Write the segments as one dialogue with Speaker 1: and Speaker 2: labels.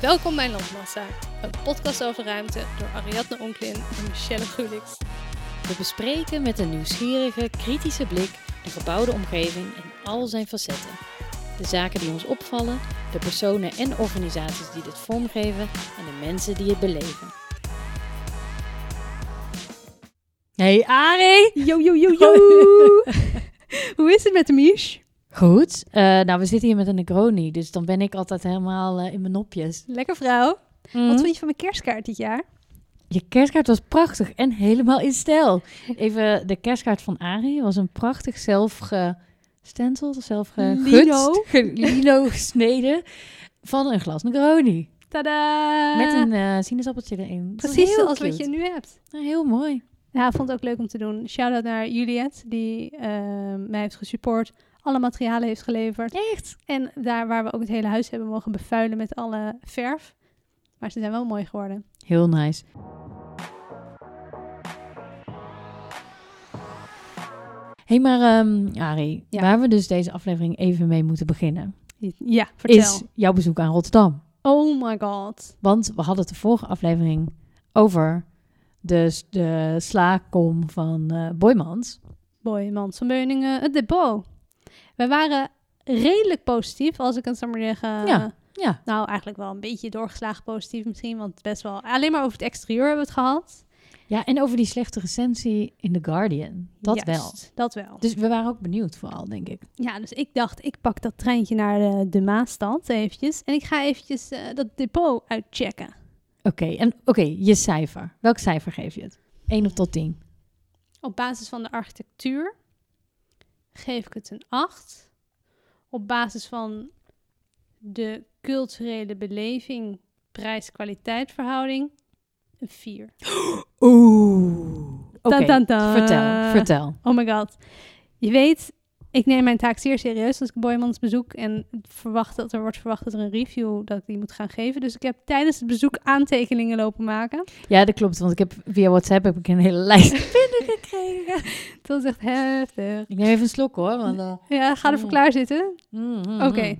Speaker 1: Welkom bij Landmassa, een podcast over ruimte door Ariadne Onklin en Michelle Gulix.
Speaker 2: We bespreken met een nieuwsgierige, kritische blik de gebouwde omgeving in al zijn facetten. De zaken die ons opvallen, de personen en organisaties die dit vormgeven en de mensen die het beleven. Hey Arie!
Speaker 3: Yo, yo, yo, yo! Hoe is het met de Mish?
Speaker 2: Goed, eh, nou we zitten hier met een Negroni, dus dan ben ik altijd helemaal eh, in mijn nopjes.
Speaker 3: Lekker vrouw.
Speaker 2: Mhm.
Speaker 1: Mm.
Speaker 3: Wat vond je van mijn kerstkaart dit jaar?
Speaker 2: Je kerstkaart was prachtig en helemaal in stijl. Even, de kerstkaart van Arie was een prachtig zelfgestenteld,
Speaker 1: Eh,
Speaker 3: Lino.
Speaker 2: zelfgegutst, ge- lino gesneden van een glas Negroni.
Speaker 3: Tada!
Speaker 2: Met een eh sinaasappeltje erin. Het was
Speaker 3: Precies
Speaker 2: heel
Speaker 3: zoals wat
Speaker 2: cute.
Speaker 3: je nu hebt.
Speaker 2: Ja, heel mooi.
Speaker 3: Ja, vond het ook leuk om te doen. Shout-out naar Juliette, die ehm, mij heeft gesupport. Alle materialen heeft geleverd.
Speaker 2: Echt?
Speaker 3: En daar waar we ook het hele huis hebben mogen bevuilen met alle verf. Maar ze zijn wel mooi geworden.
Speaker 2: Heel nice. hey, maar ehm Arie,
Speaker 3: Ja.
Speaker 2: waar we dus deze aflevering even mee moeten beginnen,
Speaker 3: Ja, vertel.
Speaker 2: is jouw bezoek aan Rotterdam.
Speaker 3: Oh my god.
Speaker 2: Want we hadden het de vorige aflevering over de, de slaakom van eh Boymans.
Speaker 3: Boy, Mans van Beuningen, eh, het depot. We waren redelijk positief, als ik het zo maar zeggen.
Speaker 2: Ja. Ja,
Speaker 3: Nou, eigenlijk wel een beetje doorgeslagen positief misschien, want best wel... Alleen maar over het exterieur hebben we het gehad.
Speaker 2: ja, en over die slechte recensie in The Guardian. Dat
Speaker 3: Juist,
Speaker 2: wel.
Speaker 3: Dat wel.
Speaker 2: Dus we waren ook benieuwd vooral, denk ik.
Speaker 3: Ja, dus ik dacht, ik pak dat treintje naar eh, de, de Maasstad eventjes. En ik ga eventjes eh, dat depot uitchecken.
Speaker 2: Oké, en oké, je cijfer. Welk cijfer geef je het? 1 op tot 10.
Speaker 3: Op basis van de architectuur geef ik het een 8. Op basis van de culturele beleving, prijs-kwaliteit verhouding, een 4.
Speaker 2: Oeh. Oké,
Speaker 3: Tan, tan, tan.
Speaker 2: vertel, vertel.
Speaker 3: Oh my god. Je weet, ik neem mijn taak zeer serieus als ik Boymans bezoek. En verwacht dat er wordt verwacht dat er een review dat ik die moet gaan geven. Dus ik heb tijdens het bezoek aantekeningen lopen maken.
Speaker 2: Ja, dat klopt, want ik heb via WhatsApp heb ik een hele lijst.
Speaker 3: Dat is echt heftig.
Speaker 2: ik neem even een slok hoor. Want, eh,
Speaker 3: Ja, ga ervoor
Speaker 2: Mm.
Speaker 3: klaar zitten.
Speaker 2: mm, mm,
Speaker 3: Oké,
Speaker 2: mm. Oké,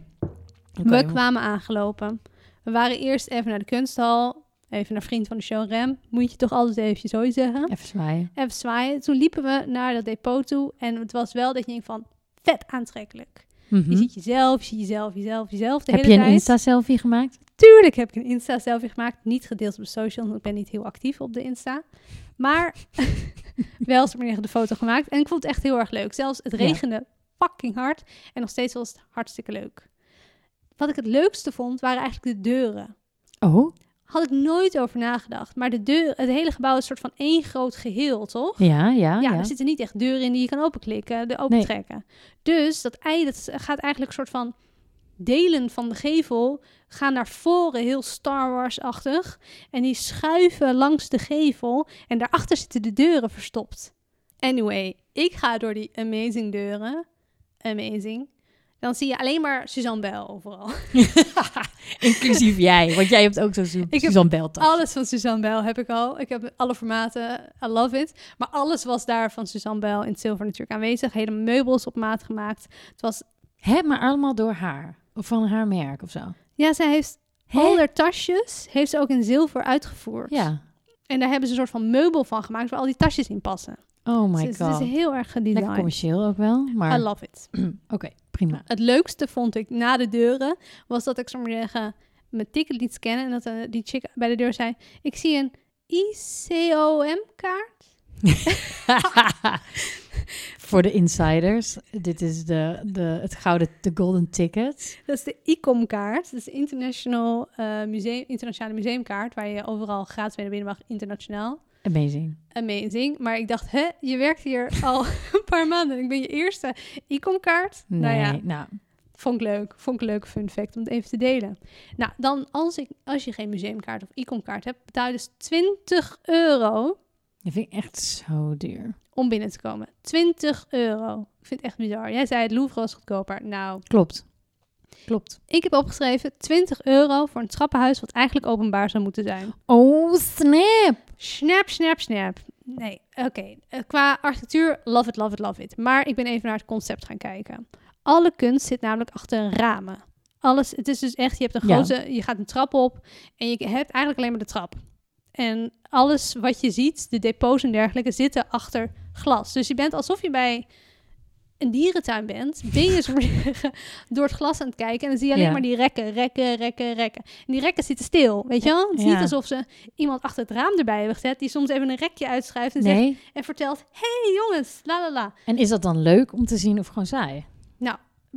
Speaker 3: we kwamen aangelopen. We waren eerst even naar de kunsthal. Even naar vriend van de show Rem. Moet je toch altijd even zo zeggen.
Speaker 2: Even zwaaien.
Speaker 3: Even zwaaien. Toen liepen we naar dat depot toe. En het was wel dat je denkt van, vet aantrekkelijk.
Speaker 2: Mhm.
Speaker 3: Je ziet jezelf, je ziet jezelf, jezelf, jezelf de
Speaker 2: Heb
Speaker 3: hele
Speaker 2: je een
Speaker 3: tijd.
Speaker 2: Insta-selfie gemaakt?
Speaker 3: Tuurlijk heb ik een Insta-selfie gemaakt. Niet gedeeld op social, want ik ben niet heel actief op de Insta. Maar wel zo'n manier de foto gemaakt. En ik vond het echt heel erg leuk. Zelfs het
Speaker 2: Ja.
Speaker 3: regende fucking hard. En nog steeds was het hartstikke leuk. Wat ik het leukste vond, waren eigenlijk de deuren.
Speaker 2: Oh,
Speaker 3: Had ik nooit over nagedacht. Maar de deur, het hele gebouw is een soort van één groot geheel, toch?
Speaker 2: ja, ja,
Speaker 3: ja,
Speaker 2: ja.
Speaker 3: er zitten niet echt deuren in die je kan openklikken, eh, de opentrekken. Dus dat ei, dat gaat eigenlijk een soort van delen van de gevel gaan naar voren, heel Star Wars-achtig. En die schuiven langs de gevel en daarachter zitten de deuren verstopt. Anyway, ik ga door die amazing deuren. Amazing. Dan zie je alleen maar Suzanne Bell overal.
Speaker 2: Inclusief jij, want jij hebt ook zo'n Su-
Speaker 3: heb
Speaker 2: Suzanne Beltas.
Speaker 3: Alles van Suzanne Bell heb ik al. Ik heb alle formaten. I love it. Maar alles was daar van Suzanne Bell in het zilver natuurlijk aanwezig. Hele meubels op maat gemaakt. Het was...
Speaker 2: Hè, maar allemaal door haar. Of van haar merk of zo.
Speaker 3: Ja, zij heeft
Speaker 2: Hè?
Speaker 3: al haar tasjes heeft ze ook in zilver uitgevoerd.
Speaker 2: Ja.
Speaker 3: En daar hebben ze een soort van meubel van gemaakt waar al die tasjes in passen.
Speaker 2: Oh my
Speaker 3: dus
Speaker 2: god.
Speaker 3: het is heel erg
Speaker 2: Lekker
Speaker 3: gedesigned.
Speaker 2: commercieel ook wel,
Speaker 3: I
Speaker 2: maar oké,
Speaker 3: love it.
Speaker 2: prima.
Speaker 3: Het leukste vond ik na de deuren was dat ik zo maar zeggen mijn ticket liet scannen en dat eh, die chick bij de deur zei: "Ik zie een ICOM-kaart."
Speaker 2: Voor de insiders, dit is de, de, het gouden, de golden ticket.
Speaker 3: Dat is de ICOM-kaart. Dat is de International, eh, museum, Internationale Museumkaart, waar je overal gratis mee naar binnen mag, internationaal.
Speaker 2: Amazing.
Speaker 3: Amazing. Maar ik dacht, hè, je werkt hier al een paar maanden. Ik ben je eerste ICOM-kaart.
Speaker 2: Nee,
Speaker 3: Nou ja,
Speaker 2: nou, nou,
Speaker 3: vond ik leuk. Vond ik een leuke fun fact om het even te delen. Nou, dan als, ik, als je geen museumkaart of ICOM-kaart hebt, betaal je dus 20 euro
Speaker 2: dat vind ik echt zo duur.
Speaker 3: om binnen te komen. 20 euro. Ik vind het echt bizar. Jij zei het Louvre was goedkoper. Nou,
Speaker 2: Klopt. Klopt.
Speaker 3: ik heb opgeschreven 20 euro voor een trappenhuis wat eigenlijk openbaar zou moeten zijn.
Speaker 2: Oh, snap.
Speaker 3: Snap, snap, snap. Nee, oké. Eh, Qua architectuur, love it, love it, love it. Maar ik ben even naar het concept gaan kijken. Alle kunst zit namelijk achter ramen. Alles, het is dus echt, je hebt een
Speaker 2: Ja.
Speaker 3: grote, je gaat een trap op en je hebt eigenlijk alleen maar de trap. En alles wat je ziet, de depots en dergelijke, zitten achter glas. Dus je bent alsof je bij een dierentuin bent, ben je zo door het glas aan het kijken en dan zie je alleen
Speaker 2: Ja.
Speaker 3: maar die rekken, rekken, rekken, rekken. En die rekken zitten stil, weet je wel? Het is
Speaker 2: Ja.
Speaker 3: niet alsof ze iemand achter het raam erbij hebben gezet, die soms even een rekje uitschuift en, zegt,
Speaker 2: Nee.
Speaker 3: en vertelt, hey jongens, la la la.
Speaker 2: En is dat dan leuk om te zien of gewoon saai?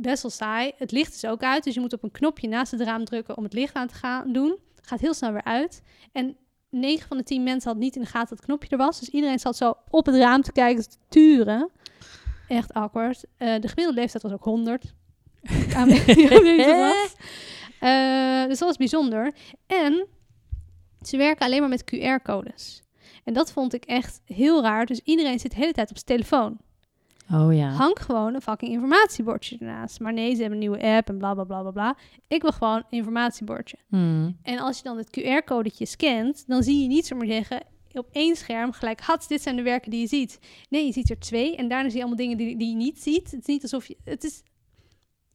Speaker 3: best wel saai. Het licht is ook uit, dus je moet op een knopje naast het raam drukken om het licht aan te gaan doen. Gaat heel snel weer uit. En 9 van de 10 mensen had niet in de gaten dat het knopje er was. Dus iedereen zat zo op het raam te kijken, te turen. Echt awkward. Eh, de gemiddelde leeftijd was ook 100. Aan wie- aan wie het was. Eh, dus dat was bijzonder. En ze werken alleen maar met QR-codes. En dat vond ik echt heel raar. Dus iedereen zit de hele tijd op zijn telefoon.
Speaker 2: Oh ja.
Speaker 3: Hang gewoon een fucking informatiebordje ernaast. Maar nee, ze hebben een nieuwe app en bla bla bla bla bla. Ik wil gewoon een informatiebordje.
Speaker 2: Hmm.
Speaker 3: En als je dan het QR-codetje scant, dan zie je niet zomaar zeggen op één scherm gelijk, hats, dit zijn de werken die je ziet. Nee, je ziet er twee en daarna zie je allemaal dingen die, die je niet ziet. Het is niet alsof je... Het is...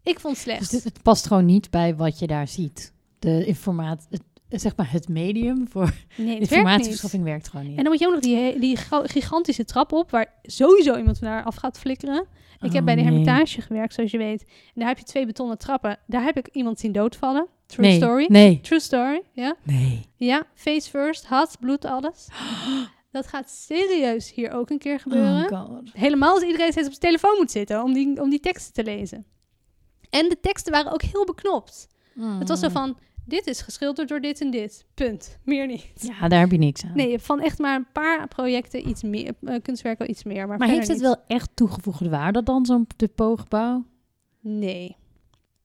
Speaker 3: Ik vond het
Speaker 2: Dus
Speaker 3: slecht.
Speaker 2: dit- het past gewoon niet bij wat je daar ziet. De informatie, zeg maar het medium voor
Speaker 3: nee, het werkt niet.
Speaker 2: informatieverschaffing werkt gewoon niet.
Speaker 3: En dan moet je ook nog die, he- die gro- gigantische trap op, waar sowieso iemand van haar af gaat flikkeren. Ik
Speaker 2: Oh,
Speaker 3: heb bij de
Speaker 2: nee.
Speaker 3: Hermitage gewerkt, zoals je weet. En daar heb je twee betonnen trappen. Daar heb ik iemand zien doodvallen. True
Speaker 2: nee,
Speaker 3: story.
Speaker 2: Nee,
Speaker 3: True story, ja.
Speaker 2: nee.
Speaker 3: Ja, face first, hart, bloed, alles. Dat gaat serieus hier ook een keer gebeuren.
Speaker 2: Oh god.
Speaker 3: Helemaal als iedereen steeds op zijn telefoon moet zitten om die, om die teksten te lezen. En de teksten waren ook heel beknopt. Het
Speaker 2: Oh.
Speaker 3: was zo van, dit is geschilderd door dit en dit. Punt. Meer niet.
Speaker 2: Ja, daar heb je niks aan.
Speaker 3: Nee, je hebt van echt maar een paar projecten iets meer, eh, kunstwerken iets meer. Maar,
Speaker 2: maar
Speaker 3: verder
Speaker 2: heeft het
Speaker 3: niet.
Speaker 2: wel echt toegevoegde waarde dan, zo'n depotgebouw?
Speaker 3: Nee.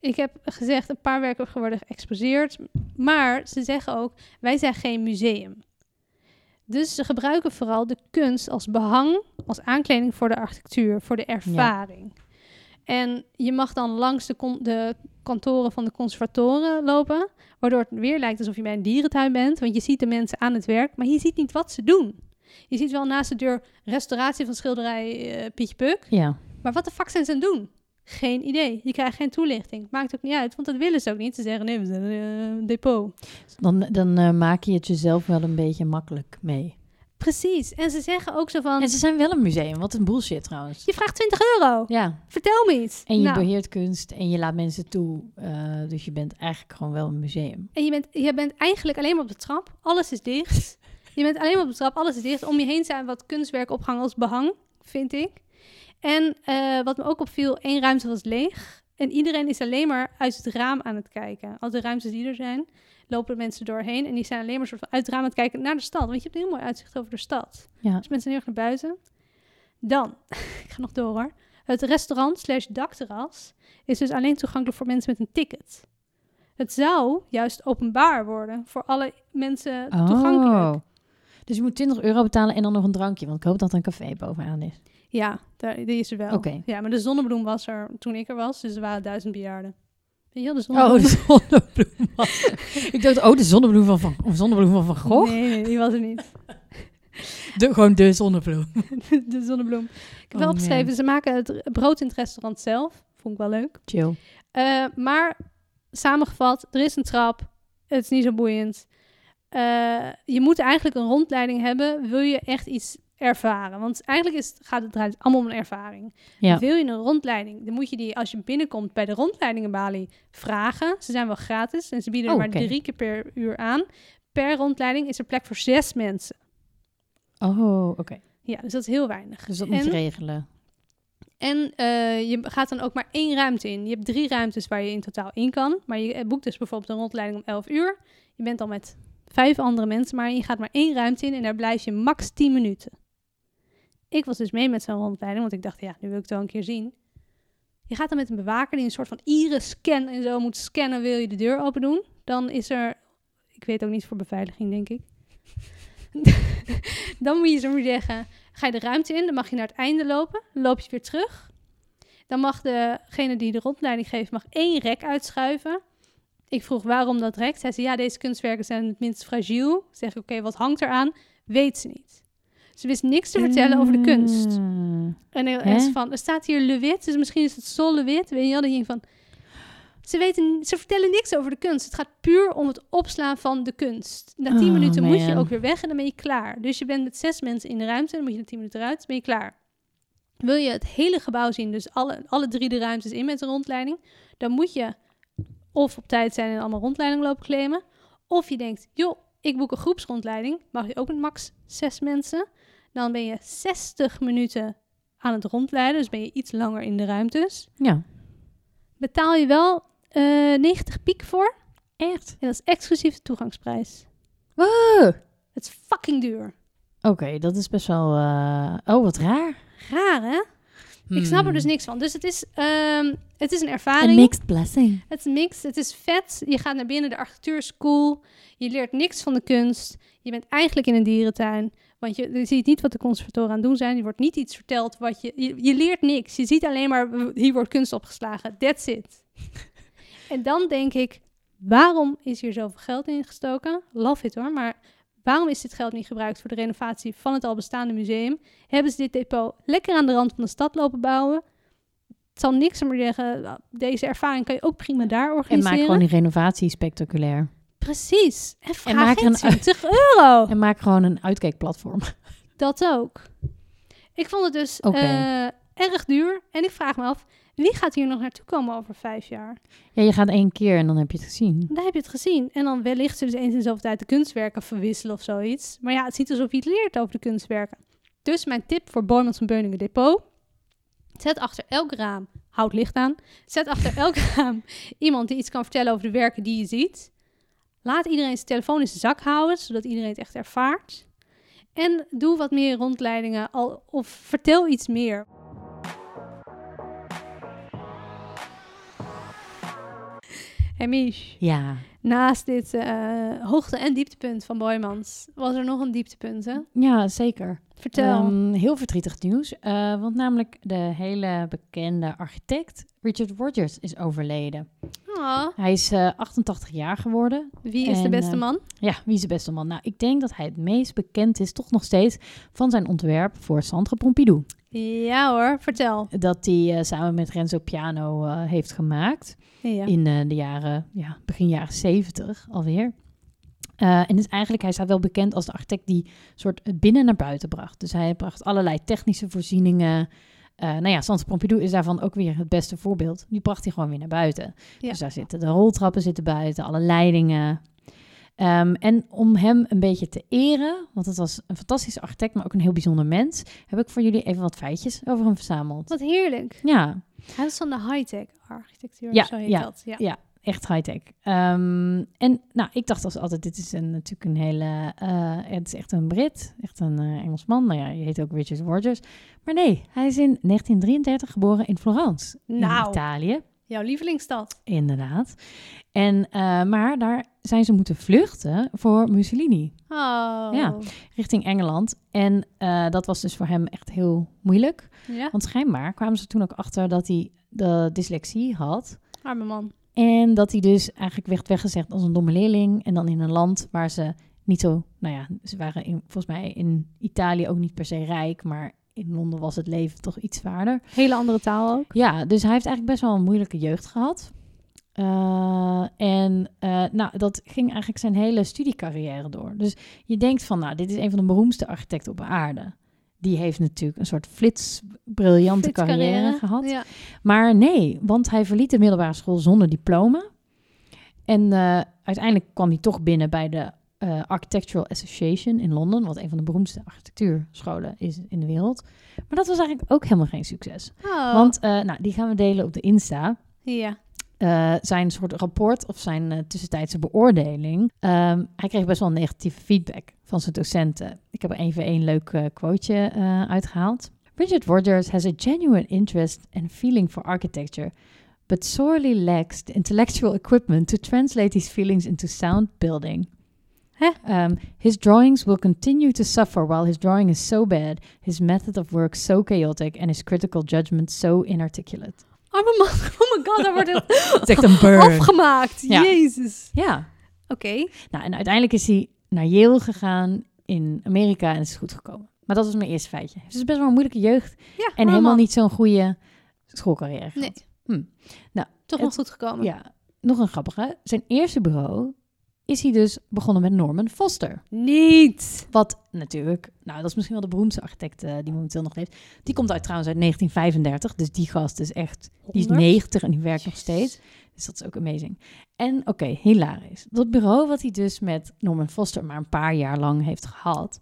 Speaker 3: Ik heb gezegd, een paar werken worden geëxposeerd. Maar ze zeggen ook, wij zijn geen museum. Dus ze gebruiken vooral de kunst als behang, als aankleding voor de architectuur, voor de ervaring. En je mag dan langs de, con- de kantoren van de conservatoren lopen, waardoor het weer lijkt alsof je bij een dierentuin bent, want je ziet de mensen aan het werk, maar je ziet niet wat ze doen. Je ziet wel naast de deur restauratie van schilderij eh Pietje Puk,
Speaker 2: Ja.
Speaker 3: maar wat de fuck zijn ze aan het doen? Geen idee. Je krijgt geen toelichting. Maakt ook niet uit, want dat willen ze ook niet. Ze zeggen, nee, we zijn een eh, depot.
Speaker 2: Dan, dan eh, maak je het jezelf wel een beetje makkelijk mee.
Speaker 3: Precies. En ze zeggen ook zo van,
Speaker 2: En ze zijn wel een museum. Wat een bullshit trouwens.
Speaker 3: je vraagt 20 euro.
Speaker 2: Ja.
Speaker 3: Vertel me iets.
Speaker 2: En je
Speaker 3: Nou,
Speaker 2: beheert kunst en je laat mensen toe. eh, dus je bent eigenlijk gewoon wel een museum.
Speaker 3: en je bent, je bent eigenlijk alleen maar op de trap. Alles is dicht. je bent alleen maar op de trap. Alles is dicht. Om je heen zijn wat kunstwerken opgehangen als behang, vind ik. En eh, wat me ook opviel, één ruimte was leeg. En iedereen is alleen maar uit het raam aan het kijken. Al de ruimtes die er zijn, lopen de mensen doorheen. En die zijn alleen maar soort van uit het raam aan het kijken naar de stad. Want je hebt een heel mooi uitzicht over de stad.
Speaker 2: Ja.
Speaker 3: Dus mensen zijn heel erg naar buiten. Dan, ik ga nog door hoor. Het restaurant slash dakterras is dus alleen toegankelijk voor mensen met een ticket. Het zou juist openbaar worden voor alle mensen toegankelijk.
Speaker 2: Oh. Dus je moet 20 euro betalen en dan nog een drankje. Want ik hoop dat er een café bovenaan is.
Speaker 3: Ja, daar, die is er wel.
Speaker 2: Oké.
Speaker 3: Ja, maar de zonnebloem was er toen ik er was, dus er waren duizend bejaarden. Weet je wel, de
Speaker 2: Oh,
Speaker 3: zonnebloem?
Speaker 2: de zonnebloem. was- ik dacht, oh, de zonnebloem van Van, of zonnebloem van van Gogh.
Speaker 3: Nee, nee, die was er niet.
Speaker 2: De, gewoon de zonnebloem.
Speaker 3: De zonnebloem. Ik heb
Speaker 2: Oh,
Speaker 3: wel
Speaker 2: man.
Speaker 3: opgeschreven, ze maken het brood in het restaurant zelf. Vond ik wel leuk.
Speaker 2: Chill.
Speaker 3: Eh, maar samengevat, er is een trap. Het is niet zo boeiend. Eh, je moet eigenlijk een rondleiding hebben. Wil je echt iets ervaren? Want eigenlijk is, gaat het draait het allemaal om een ervaring.
Speaker 2: Ja.
Speaker 3: Wil je een rondleiding? Dan moet je die, als je binnenkomt bij de rondleidingenbalie, vragen. Ze zijn wel gratis en ze bieden er
Speaker 2: Oh,
Speaker 3: maar
Speaker 2: oké.
Speaker 3: drie keer per uur aan. Per rondleiding is er plek voor zes mensen.
Speaker 2: Oh, oké.
Speaker 3: Ja, dus dat is heel weinig.
Speaker 2: Dus dat
Speaker 3: En-
Speaker 2: moet je regelen.
Speaker 3: En eh, je gaat dan ook maar één ruimte in. Je hebt drie ruimtes waar je in totaal in kan. Maar je eh, boekt dus bijvoorbeeld een rondleiding om 11 uur. Je bent dan met vijf andere mensen, maar je gaat maar één ruimte in en daar blijf je max 10 minuten. Ik was dus mee met zo'n rondleiding, want ik dacht, ja, nu wil ik het wel een keer zien. Je gaat dan met een bewaker die een soort van iris-scan en zo moet scannen, wil je de deur open doen. Dan is er, ik weet ook niet voor beveiliging, denk ik. dan moet je zo maar zeggen, ga je de ruimte in, dan mag je naar het einde lopen, dan loop je weer terug. Dan mag degene die de rondleiding geeft, mag één rek uitschuiven. Ik vroeg waarom dat rek. Zij zei, ja, deze kunstwerken zijn het minst fragiel. Ik Zeg, oké, wat hangt eraan? Weet ze niet. Ze wist niks te vertellen over de kunst.
Speaker 2: Mm.
Speaker 3: En er
Speaker 2: Hè?
Speaker 3: is van, er staat hier Le Wit, dus misschien is het Sol Le Wit. Weet je wel, dat je denkt van... Ze, weten, ze vertellen niks over de kunst. Het gaat puur om het opslaan van de kunst. Na tien
Speaker 2: Oh,
Speaker 3: minuten moet je
Speaker 2: man.
Speaker 3: ook weer weg en dan ben je klaar. Dus je bent met zes mensen in de ruimte, dan moet je na tien minuten eruit, dan ben je klaar. Wil je het hele gebouw zien, dus alle, alle drie de ruimtes in met een rondleiding, dan moet je of op tijd zijn en allemaal rondleiding lopen claimen. Of je denkt, joh, ik boek een groepsrondleiding, mag je ook met max zes mensen. Dan ben je 60 minuten aan het rondleiden, dus ben je iets langer in de ruimtes
Speaker 2: Ja.
Speaker 3: betaal je wel eh, 90 piek voor.
Speaker 2: Echt?
Speaker 3: En dat is exclusief de toegangsprijs.
Speaker 2: Wow.
Speaker 3: Het is fucking duur.
Speaker 2: Oké, dat is best wel... eh, Oh, wat raar.
Speaker 3: Raar, hè? Ik snap er dus
Speaker 2: Hmm.
Speaker 3: niks van. Dus het is, ehm, het is een
Speaker 2: Een
Speaker 3: ervaring.
Speaker 2: mixed blessing.
Speaker 3: Het is mixed. Het is vet. Je gaat naar binnen. De architectuur is cool. Je leert niks van de kunst. Je bent eigenlijk in een dierentuin. Want je, je ziet niet wat de conservatoren aan het doen zijn. Je wordt niet iets verteld. Wat je, je, je leert niks. Je ziet alleen maar, w- hier wordt kunst opgeslagen. That's it. en dan denk ik, waarom is hier zoveel geld in gestoken? Love it hoor, maar... Waarom is dit geld niet gebruikt voor de renovatie van het al bestaande museum? Hebben ze dit depot lekker aan de rand van de stad lopen bouwen? Het zal niks meer zeggen. Deze ervaring kan je ook prima daar
Speaker 2: En
Speaker 3: organiseren.
Speaker 2: maak gewoon die renovatie spectaculair.
Speaker 3: Precies. En vraag
Speaker 2: maak er
Speaker 3: geen
Speaker 2: een-
Speaker 3: 20 euro.
Speaker 2: En maak gewoon een uitkijkplatform.
Speaker 3: Dat ook. Ik vond het dus
Speaker 2: Oké.
Speaker 3: eh, erg duur. En ik vraag me af, wie gaat hier nog naartoe komen over vijf jaar?
Speaker 2: Ja, je gaat één keer en dan heb je het gezien.
Speaker 3: Daar heb je het gezien. En dan wellicht zullen ze eens in de zoveel tijd de kunstwerken verwisselen of zoiets. Maar ja, het ziet alsof je het leert over de kunstwerken. Dus mijn tip voor Boymans en Beuningen Depot. Zet achter elk raam, houd licht aan. Zet achter elk raam iemand die iets kan vertellen over de werken die je ziet. Laat iedereen zijn telefoon in zijn zak houden, zodat iedereen het echt ervaart. En doe wat meer rondleidingen al, of vertel iets meer. En Mich,
Speaker 2: Ja.
Speaker 3: Naast dit eh, hoogte- en dieptepunt van Boymans was er nog een dieptepunt, hè?
Speaker 2: Ja, zeker.
Speaker 3: Vertel.
Speaker 2: Ehm, heel verdrietig nieuws. eh, want namelijk de hele bekende architect Richard Rogers is overleden.
Speaker 3: Ah,
Speaker 2: Hij is eh, 88 jaar geworden.
Speaker 3: wie is de
Speaker 2: en,
Speaker 3: beste
Speaker 2: eh,
Speaker 3: man?
Speaker 2: Ja, wie is de beste man? Nou, ik denk dat hij het meest bekend is, toch nog steeds, van zijn ontwerp voor Centre Pompidou.
Speaker 3: Ja hoor, vertel.
Speaker 2: Dat hij eh, samen met Renzo Piano eh, heeft gemaakt.
Speaker 3: Ja.
Speaker 2: in eh, de jaren, ja, begin jaren 70 alweer. Eh en is eigenlijk, hij staat wel bekend als de architect die soort het binnen naar buiten bracht. Dus hij bracht allerlei technische voorzieningen. Eh nou ja, Sans Pompidou is daarvan ook weer het beste voorbeeld. Die bracht hij gewoon weer naar buiten.
Speaker 3: Ja.
Speaker 2: Dus daar zitten de roltrappen zitten buiten, alle leidingen. Ehm, en om hem een beetje te eren, want het was een fantastische architect, maar ook een heel bijzonder mens, heb ik voor jullie even wat feitjes over hem verzameld.
Speaker 3: Wat heerlijk.
Speaker 2: Ja,
Speaker 3: Hij is van de high-tech architectuur,
Speaker 2: Ja,
Speaker 3: zo heet
Speaker 2: ja,
Speaker 3: dat. Ja.
Speaker 2: ja. echt high-tech. Ehm, en nou, ik dacht als altijd, dit is een, natuurlijk een hele... eh, het is echt een Brit, echt een eh, Engelsman. Nou ja, je heet ook Richard Rogers. Maar nee, hij is in 1933 geboren in Florence, in
Speaker 3: Nou.
Speaker 2: Italië.
Speaker 3: Jouw lievelingsstad.
Speaker 2: Inderdaad. En, eh, maar daar zijn ze moeten vluchten voor Mussolini
Speaker 3: Oh.
Speaker 2: Ja. richting Engeland. En eh, dat was dus voor hem echt heel moeilijk.
Speaker 3: Ja,
Speaker 2: Want schijnbaar kwamen ze toen ook achter dat hij de dyslexie had.
Speaker 3: arme man.
Speaker 2: En dat hij dus eigenlijk werd weggezegd als een domme leerling. En dan in een land waar ze niet zo... Nou ja, ze waren in, volgens mij in Italië ook niet per se rijk. Maar in Londen was het leven toch iets zwaarder.
Speaker 3: Hele andere taal ook.
Speaker 2: Ja, dus hij heeft eigenlijk best wel een moeilijke jeugd gehad. Eh, en eh, nou, dat ging eigenlijk zijn hele studiecarrière door. Dus je denkt van, nou, dit is een van de beroemdste architecten op aarde. Die heeft natuurlijk een soort flits briljante
Speaker 3: Flitscarrière.
Speaker 2: carrière gehad.
Speaker 3: Ja.
Speaker 2: Maar nee, want hij verliet de middelbare school zonder diploma. En eh, uiteindelijk kwam hij toch binnen bij de eh, Architectural Association in Londen, wat een van de beroemdste architectuurscholen is in de wereld. Maar dat was eigenlijk ook helemaal geen succes.
Speaker 3: Oh.
Speaker 2: Want eh, nou, die gaan we delen op de Insta.
Speaker 3: ja.
Speaker 2: Eh, zijn soort rapport of zijn eh, tussentijdse beoordeling. Ehm, hij kreeg best wel negatieve feedback van zijn docenten. Ik heb er even één leuk eh, quoteje eh, uitgehaald. Richard Rogers has a genuine interest and feeling for architecture, but sorely lacks the intellectual equipment to translate these feelings into sound building.
Speaker 3: Hè?
Speaker 2: Um, his drawings will continue to suffer while his drawing is so bad, his method of work so chaotic and his critical judgment so inarticulate.
Speaker 3: Arme man. Oh my god, daar wordt het
Speaker 2: Het is echt een burn.
Speaker 3: afgemaakt.
Speaker 2: Ja.
Speaker 3: Jezus.
Speaker 2: Ja.
Speaker 3: Oké.
Speaker 2: Nou, en uiteindelijk is hij naar Yale gegaan in Amerika en is het goed gekomen. Maar dat was mijn eerste feitje. Dus het is best wel een moeilijke jeugd
Speaker 3: Ja,
Speaker 2: en
Speaker 3: arme
Speaker 2: helemaal
Speaker 3: man.
Speaker 2: niet zo'n goede schoolcarrière. gehad.
Speaker 3: Nee.
Speaker 2: Hm. Nou,
Speaker 3: Toch
Speaker 2: het-
Speaker 3: nog goed gekomen.
Speaker 2: Ja, nog een grappige. Zijn eerste bureau is hij dus begonnen met Norman Foster.
Speaker 3: Niet.
Speaker 2: Wat natuurlijk, nou dat is misschien wel de beroemdste architect eh, die momenteel nog leeft. Die komt uit trouwens uit 1935. Dus die gast is echt, die is
Speaker 3: 100?
Speaker 2: 90 en die werkt nog steeds. Dus dat is ook amazing. En oké, hilarisch. Dat bureau wat hij dus met Norman Foster maar een paar jaar lang heeft gehad.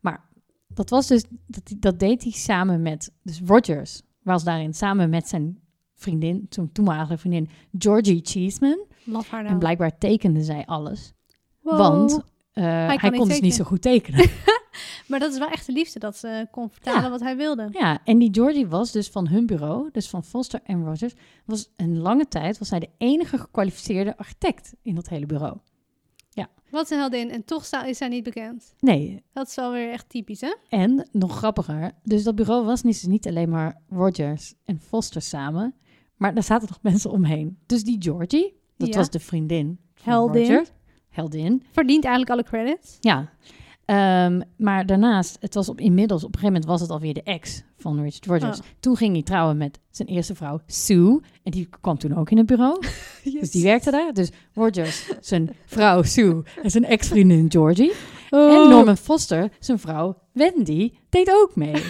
Speaker 2: Maar dat was dus, dat, hij- dat deed hij samen met, dus Rogers was daarin samen met zijn vriendin, toen toenmalige vriendin Georgie Cheeseman.
Speaker 3: Laf haar nou.
Speaker 2: En blijkbaar tekende zij alles.
Speaker 3: Wow.
Speaker 2: Want eh, hij,
Speaker 3: niet
Speaker 2: kon dus niet
Speaker 3: tekenen.
Speaker 2: zo goed tekenen.
Speaker 3: Maar dat is wel echt de liefde dat ze kon vertalen
Speaker 2: Ja.
Speaker 3: wat hij wilde.
Speaker 2: ja, en die Georgie was dus van hun bureau, dus van Foster en Rogers, was een lange tijd was hij de enige gekwalificeerde architect in dat hele bureau.
Speaker 3: Wat een heldin. En toch sta- is zij niet bekend.
Speaker 2: Nee,
Speaker 3: Dat is wel weer echt typisch, hè?
Speaker 2: En nog grappiger, dus dat bureau was niet, dus niet alleen maar Rogers en Foster samen, maar daar zaten nog mensen omheen. Dus die Georgie, dat
Speaker 3: Ja.
Speaker 2: was de vriendin van
Speaker 3: Heldin.
Speaker 2: Rogers. Heldin,
Speaker 3: Verdient eigenlijk alle credits.
Speaker 2: ja. Ehm, maar daarnaast, het was op, inmiddels, op een gegeven moment was het alweer de ex van Richard Rogers.
Speaker 3: Oh.
Speaker 2: Toen ging hij trouwen met zijn eerste vrouw, Sue. En die kwam toen ook in het bureau. Dus die werkte daar. Dus Rogers, zijn vrouw Sue en zijn ex-vriendin Georgie. En Norman Foster, zijn vrouw Wendy, deed ook mee.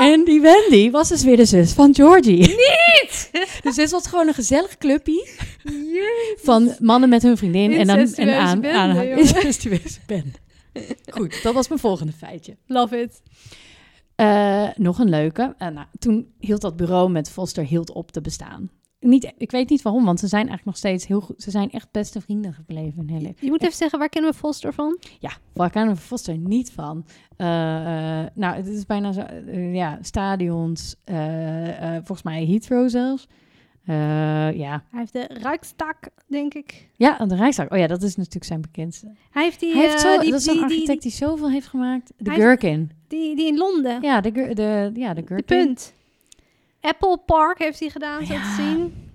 Speaker 2: en die Wendy was dus weer de zus van Georgie. Niet! dus dit was gewoon een gezellig clubje van mannen met hun vriendin. En dan en
Speaker 3: Incestueuze
Speaker 2: aan,
Speaker 3: bende,
Speaker 2: aan
Speaker 3: jongen.
Speaker 2: incestueuze bende. Goed, dat was mijn volgende feitje.
Speaker 3: Love it.
Speaker 2: Eh, nog een leuke. Eh, nou, toen hield dat bureau met Foster hield op te bestaan. Niet, ik weet niet waarom, want ze zijn eigenlijk nog steeds heel goed. Ze zijn echt beste vrienden gebleven. Heel leuk.
Speaker 3: Je moet even zeggen, waar kennen we Foster van?
Speaker 2: Ja, waar kennen we Foster niet van? Eh, eh, nou, het is bijna zo. eh, ja, stadions. eh, eh, volgens mij Heathrow zelfs. Eh, ja.
Speaker 3: Hij heeft de Rijkstak, denk ik.
Speaker 2: ja, aan de Rijksdag. Oh ja, dat is natuurlijk zijn bekendste.
Speaker 3: Hij heeft die,
Speaker 2: Hij heeft zo,
Speaker 3: eh, die,
Speaker 2: dat is een
Speaker 3: die,
Speaker 2: architect
Speaker 3: die,
Speaker 2: die, zoveel heeft gemaakt. De
Speaker 3: Hij-
Speaker 2: Gherkin.
Speaker 3: die, die in Londen.
Speaker 2: Ja, de, gur- de, ja, de
Speaker 3: de
Speaker 2: Gherkin.
Speaker 3: punt. Apple Park heeft hij gedaan, zo te
Speaker 2: Oh, Ja.
Speaker 3: zien.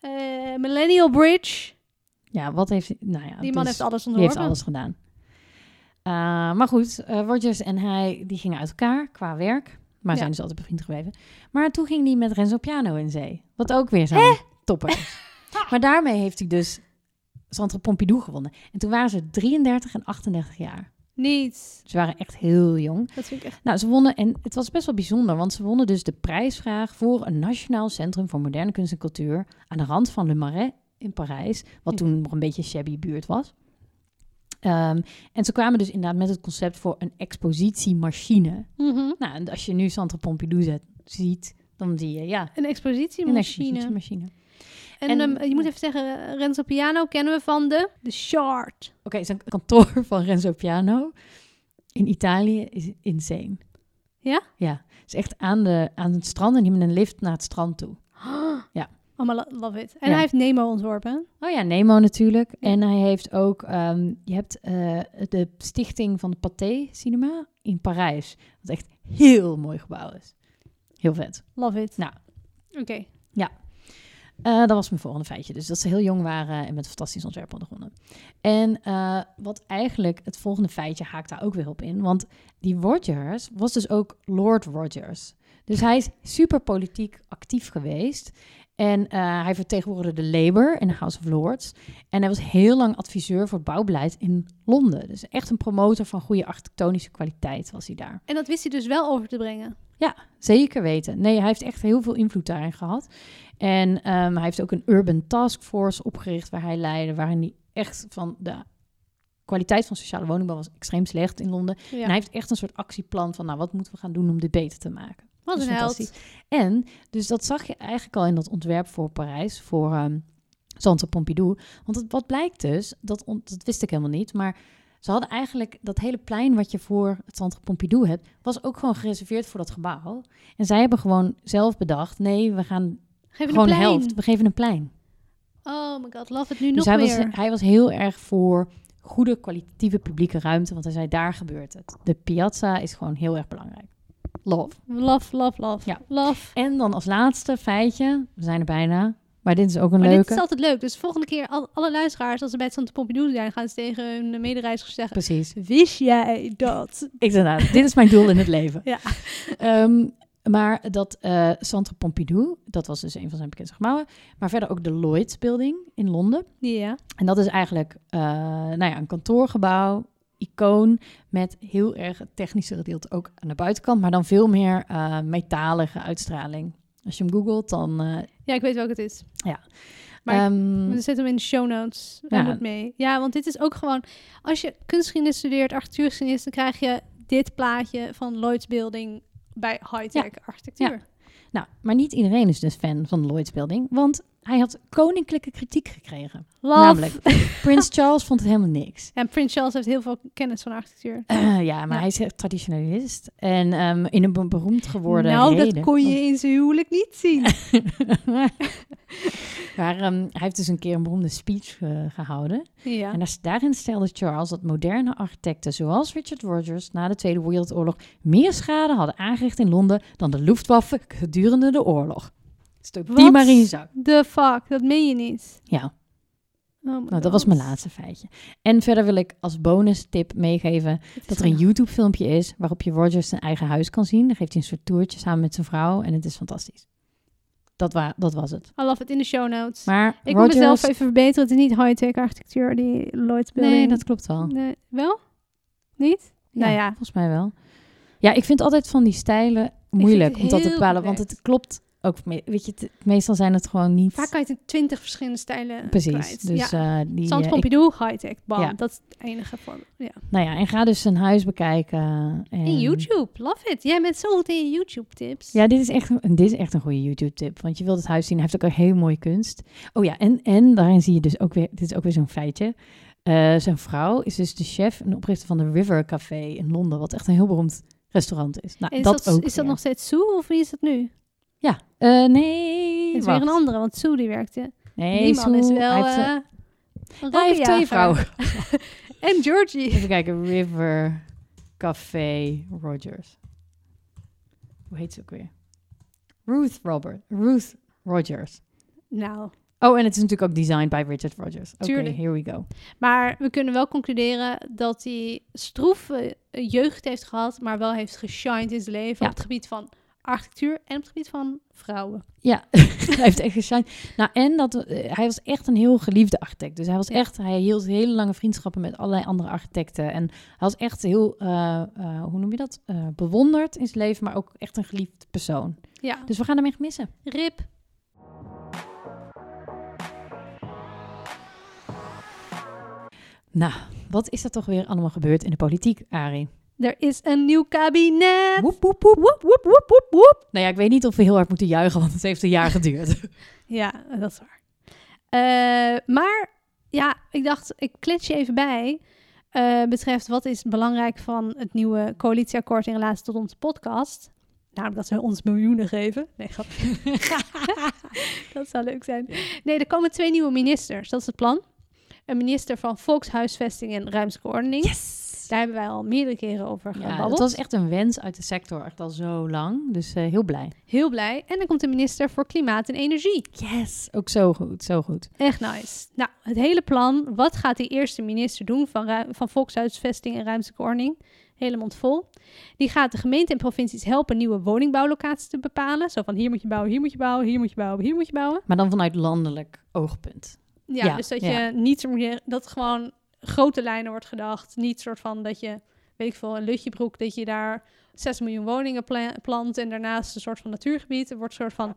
Speaker 3: Eh, Millennial Bridge.
Speaker 2: Ja, wat heeft... Nou ja,
Speaker 3: die man
Speaker 2: dus-
Speaker 3: heeft alles
Speaker 2: Die
Speaker 3: onderworpen.
Speaker 2: heeft alles gedaan. Eh, maar goed, eh, Rogers en hij die gingen uit elkaar qua werk. Maar
Speaker 3: Ja.
Speaker 2: zijn dus altijd bevriend gebleven. Maar toen ging hij met Renzo Piano in zee. Wat ook weer zo'n topper is. maar daarmee heeft hij dus Centre Pompidou gewonnen. En toen waren ze 33 en 38 jaar.
Speaker 3: Niet.
Speaker 2: Ze waren echt heel jong.
Speaker 3: Dat vind ik echt...
Speaker 2: Nou, ze wonnen, en het was best wel bijzonder, want ze wonnen dus de prijsvraag voor een Nationaal Centrum voor Moderne Kunst en Cultuur aan de rand van Le Marais in Parijs, wat toen nog een beetje shabby buurt was. Ehm, en ze kwamen dus inderdaad met het concept voor een expositiemachine.
Speaker 3: Mhm.
Speaker 2: Nou, en als je nu Centre Pompidou zet, ziet, dan zie je, ja,
Speaker 3: Een
Speaker 2: een
Speaker 3: expositiemachine.
Speaker 2: expositiemachine. Oké,
Speaker 3: en
Speaker 2: En-
Speaker 3: ehm, je moet even zeggen, eh, Renzo Piano kennen we van de... De Shard.
Speaker 2: zijn kantoor van Renzo Piano in Italië is insane.
Speaker 3: Ja?
Speaker 2: Ja, het is echt aan, de, aan het strand en die met een lift naar het strand toe. Ja.
Speaker 3: Oh, maar lo- love it. En
Speaker 2: Ja.
Speaker 3: hij heeft Nemo ontworpen.
Speaker 2: Oh ja, Nemo natuurlijk.
Speaker 3: Ja.
Speaker 2: En hij heeft ook, ehm, je hebt eh, de stichting van de Pathé Cinema in Parijs. Wat echt heel mooi gebouw is. Heel vet.
Speaker 3: Love it.
Speaker 2: Nou.
Speaker 3: Oké.
Speaker 2: Eh, dat was mijn volgende feitje. Dus dat ze heel jong waren en met een fantastisch ontwerp hadden gewonnen. En eh, wat eigenlijk het volgende feitje haakt daar ook weer op in. Want die Rogers was dus ook Lord Rogers. Dus hij is super politiek actief geweest. En eh, hij vertegenwoordigde de Labour in de House of Lords. En hij was heel lang adviseur voor het bouwbeleid in Londen. Dus echt een promotor van goede architectonische kwaliteit was hij daar.
Speaker 3: En dat wist hij dus wel over te brengen.
Speaker 2: Zeker weten. Nee, hij heeft echt heel veel invloed daarin gehad. En ehm, hij heeft ook een urban task force opgericht waar hij leidde, waarin hij echt van de kwaliteit van sociale woningbouw was extreem slecht in Londen.
Speaker 3: Ja.
Speaker 2: En hij heeft echt een soort actieplan van, nou, wat moeten we gaan doen om dit beter te maken?
Speaker 3: Wat
Speaker 2: dat
Speaker 3: een
Speaker 2: is
Speaker 3: held.
Speaker 2: fantastisch. En, dus dat zag je eigenlijk al in dat ontwerp voor Parijs, voor ehm Centre Pompidou. Want het, wat blijkt dus, dat, ont- dat wist ik helemaal niet, maar ze hadden eigenlijk dat hele plein wat je voor het Centre Pompidou hebt, was ook gewoon gereserveerd voor dat gebouw. En zij hebben gewoon zelf bedacht, nee, we gaan
Speaker 3: Geef hem
Speaker 2: gewoon
Speaker 3: een
Speaker 2: de
Speaker 3: plein.
Speaker 2: helft, we geven een plein.
Speaker 3: Oh my god, love it nu
Speaker 2: dus
Speaker 3: nog
Speaker 2: hij
Speaker 3: meer.
Speaker 2: was, hij was heel erg voor goede kwalitatieve publieke ruimte, want hij zei, daar gebeurt het. De piazza is gewoon heel erg belangrijk. Love.
Speaker 3: Love, love, love.
Speaker 2: Ja.
Speaker 3: Love.
Speaker 2: En dan als laatste feitje, we zijn er bijna, maar dit is ook een
Speaker 3: Maar
Speaker 2: leuke.
Speaker 3: dit is altijd leuk. Dus volgende keer al- alle luisteraars, als ze bij het Santa Pompidou zijn, gaan ze tegen hun medereizigers zeggen...
Speaker 2: Precies.
Speaker 3: Wist jij dat?
Speaker 2: Ik zeg nou, dit is mijn doel in het leven.
Speaker 3: Ja.
Speaker 2: Ehm, Maar dat eh Centre Pompidou, dat was dus een van zijn bekendste gebouwen. Maar verder ook de Lloyd Building in Londen.
Speaker 3: Ja.
Speaker 2: En dat is eigenlijk eh, nou ja, een kantoorgebouw, icoon, met heel erg het technische gedeelte ook aan de buitenkant, maar dan veel meer eh, metalige uitstraling. Als je hem googelt, dan... eh,
Speaker 3: ja, ik weet welke het is. Maar ik-
Speaker 2: ehm,
Speaker 3: We zetten hem in de show notes.
Speaker 2: Ja.
Speaker 3: Ja. moet mee. Ja, want dit is ook gewoon... Als je kunstgeschiedenis studeert, architectuurgeschiedenis... dan krijg je dit plaatje van Lloyd's Building bij high-tech architectuur.
Speaker 2: nou, maar niet iedereen is dus fan van de Lloyd's Building, want hij had koninklijke kritiek gekregen.
Speaker 3: Love.
Speaker 2: Namelijk, Prins Charles vond het helemaal niks.
Speaker 3: En Prins Charles heeft heel veel kennis van architectuur.
Speaker 2: Eh, ja, maar
Speaker 3: Ja.
Speaker 2: hij is echt traditionalist en ehm, in een be- beroemd geworden
Speaker 3: nou, dat
Speaker 2: heden.
Speaker 3: kon je in zijn huwelijk niet zien.
Speaker 2: maar ehm, hij heeft dus een keer een beroemde speech eh, gehouden.
Speaker 3: ja.
Speaker 2: En als- daarin stelde Charles dat moderne architecten zoals Richard Rogers na de Tweede Wereldoorlog meer schade hadden aangericht in Londen dan de Luftwaffe gedurende de oorlog. Stuk die
Speaker 3: Wat?
Speaker 2: maar in je zak.
Speaker 3: The fuck, dat meen je niet.
Speaker 2: Ja,
Speaker 3: Oh my
Speaker 2: nou, dat
Speaker 3: God.
Speaker 2: was mijn laatste feitje. En verder wil ik als bonus tip meegeven
Speaker 3: Het is
Speaker 2: dat er een
Speaker 3: gewoon-
Speaker 2: YouTube-filmpje is waarop je Rogers zijn eigen huis kan zien. Daar geeft hij een soort toertje samen met zijn vrouw en het is fantastisch. Dat, wa dat was het.
Speaker 3: I love it in de show notes.
Speaker 2: Maar
Speaker 3: ik
Speaker 2: Rogers...
Speaker 3: moet mezelf even verbeteren. Het is niet high-tech architectuur, die Lloyd's Building.
Speaker 2: Nee, dat klopt wel.
Speaker 3: Nee, wel? Niet? Nou ja.
Speaker 2: Volgens mij wel. Ja, ik vind altijd van die stijlen
Speaker 3: het
Speaker 2: moeilijk om dat te
Speaker 3: heel
Speaker 2: bepalen. Want
Speaker 3: complex.
Speaker 2: het klopt ook. me- Weet je, het- meestal zijn het gewoon niet.
Speaker 3: Vaak kan je het in twintig verschillende stijlen
Speaker 2: precies.
Speaker 3: kwijt.
Speaker 2: Dus
Speaker 3: ja.
Speaker 2: eh, die.
Speaker 3: Sant
Speaker 2: eh, ik-
Speaker 3: Pompidou, high-tech, bam.
Speaker 2: Ja.
Speaker 3: Dat is het enige vorm. Ja.
Speaker 2: nou ja, en ga dus een huis bekijken. En,
Speaker 3: En YouTube, love it. Jij bent zo goed in je YouTube-tips.
Speaker 2: Ja, dit is, echt, een- dit is echt een goede YouTube-tip. Want je wilt het huis zien. Hij heeft ook een heel mooie kunst. Oh ja, en, en daarin zie je dus ook weer. Dit is ook weer zo'n feitje. Eh, zijn vrouw is dus de chef en oprichter van de River Café in Londen. Wat echt een heel beroemd restaurant is. Nou,
Speaker 3: En is
Speaker 2: dat,
Speaker 3: dat,
Speaker 2: ook.
Speaker 3: is dat
Speaker 2: weer.
Speaker 3: nog steeds Sue of wie is dat nu?
Speaker 2: Ja. Eh, nee.
Speaker 3: Het is
Speaker 2: wacht.
Speaker 3: weer een andere, want Sue die werkte.
Speaker 2: Nee,
Speaker 3: die man is
Speaker 2: Sue,
Speaker 3: wel...
Speaker 2: Hij heeft,
Speaker 3: eh, een
Speaker 2: hij heeft twee
Speaker 3: rokkenjager.
Speaker 2: vrouwen.
Speaker 3: En Georgie.
Speaker 2: Even kijken. River Café Rogers. Hoe heet ze ook weer? Ruth Robert. Ruth Rogers.
Speaker 3: Nou,
Speaker 2: Oh, en het is natuurlijk ook designed by Richard Rogers. Oké,
Speaker 3: Tuurlijk.
Speaker 2: here we go.
Speaker 3: maar we kunnen wel concluderen dat hij stroeve eh, jeugd heeft gehad, maar wel heeft geshined in zijn leven
Speaker 2: Ja.
Speaker 3: op het gebied van architectuur en op het gebied van vrouwen.
Speaker 2: Ja, hij heeft echt geshined. Nou, en dat, eh, hij was echt een heel geliefde architect. Dus hij was
Speaker 3: Ja.
Speaker 2: echt, hij hield hele lange vriendschappen met allerlei andere architecten. En hij was echt heel, eh, eh, hoe noem je dat? Eh, bewonderd in zijn leven, maar ook echt een geliefd persoon.
Speaker 3: Ja,
Speaker 2: Dus we gaan hem echt missen.
Speaker 3: rip.
Speaker 2: Nou, wat is er toch weer allemaal gebeurd in de politiek, Arie?
Speaker 3: Er is een nieuw kabinet.
Speaker 2: Woep, woep, woep.
Speaker 3: Woep, woep, woep, woep, woep.
Speaker 2: Nou ja, ik weet niet of we heel hard moeten juichen, want het heeft een jaar geduurd.
Speaker 3: Ja, dat is waar. Eh, maar ja, ik dacht, ik klets je even bij. eh, betreft wat is belangrijk van het nieuwe coalitieakkoord in relatie tot onze podcast. Namelijk dat ze ons miljoenen geven. Nee, grap. dat zou leuk zijn. Nee, er komen twee nieuwe ministers. Dat is het plan. Een minister van Volkshuisvesting en Ruimtelijke Ordening.
Speaker 2: Yes!
Speaker 3: Daar hebben wij al meerdere keren over
Speaker 2: Ja,
Speaker 3: gebabbeld.
Speaker 2: dat was echt een wens uit de sector, echt al zo lang. Dus eh, heel blij.
Speaker 3: Heel blij. En dan komt de minister voor Klimaat en Energie.
Speaker 2: Yes! Ook zo goed, zo goed.
Speaker 3: Echt nice. Nou, het hele plan. Wat gaat die eerste minister doen van, ru- van volkshuisvesting en ruimtelijke ordening? Hele mond vol. Die gaat de gemeente en provincies helpen nieuwe woningbouwlocaties te bepalen. Zo van hier moet je bouwen, hier moet je bouwen, hier moet je bouwen, hier moet je bouwen.
Speaker 2: Maar dan vanuit landelijk oogpunt.
Speaker 3: Ja,
Speaker 2: Ja,
Speaker 3: dus dat
Speaker 2: ja.
Speaker 3: je niet meer, dat gewoon grote lijnen wordt gedacht. Niet soort van dat je, weet ik veel, een lutjebroek, dat je daar 6 miljoen woningen pla- plant en daarnaast een soort van natuurgebied. Er wordt een soort van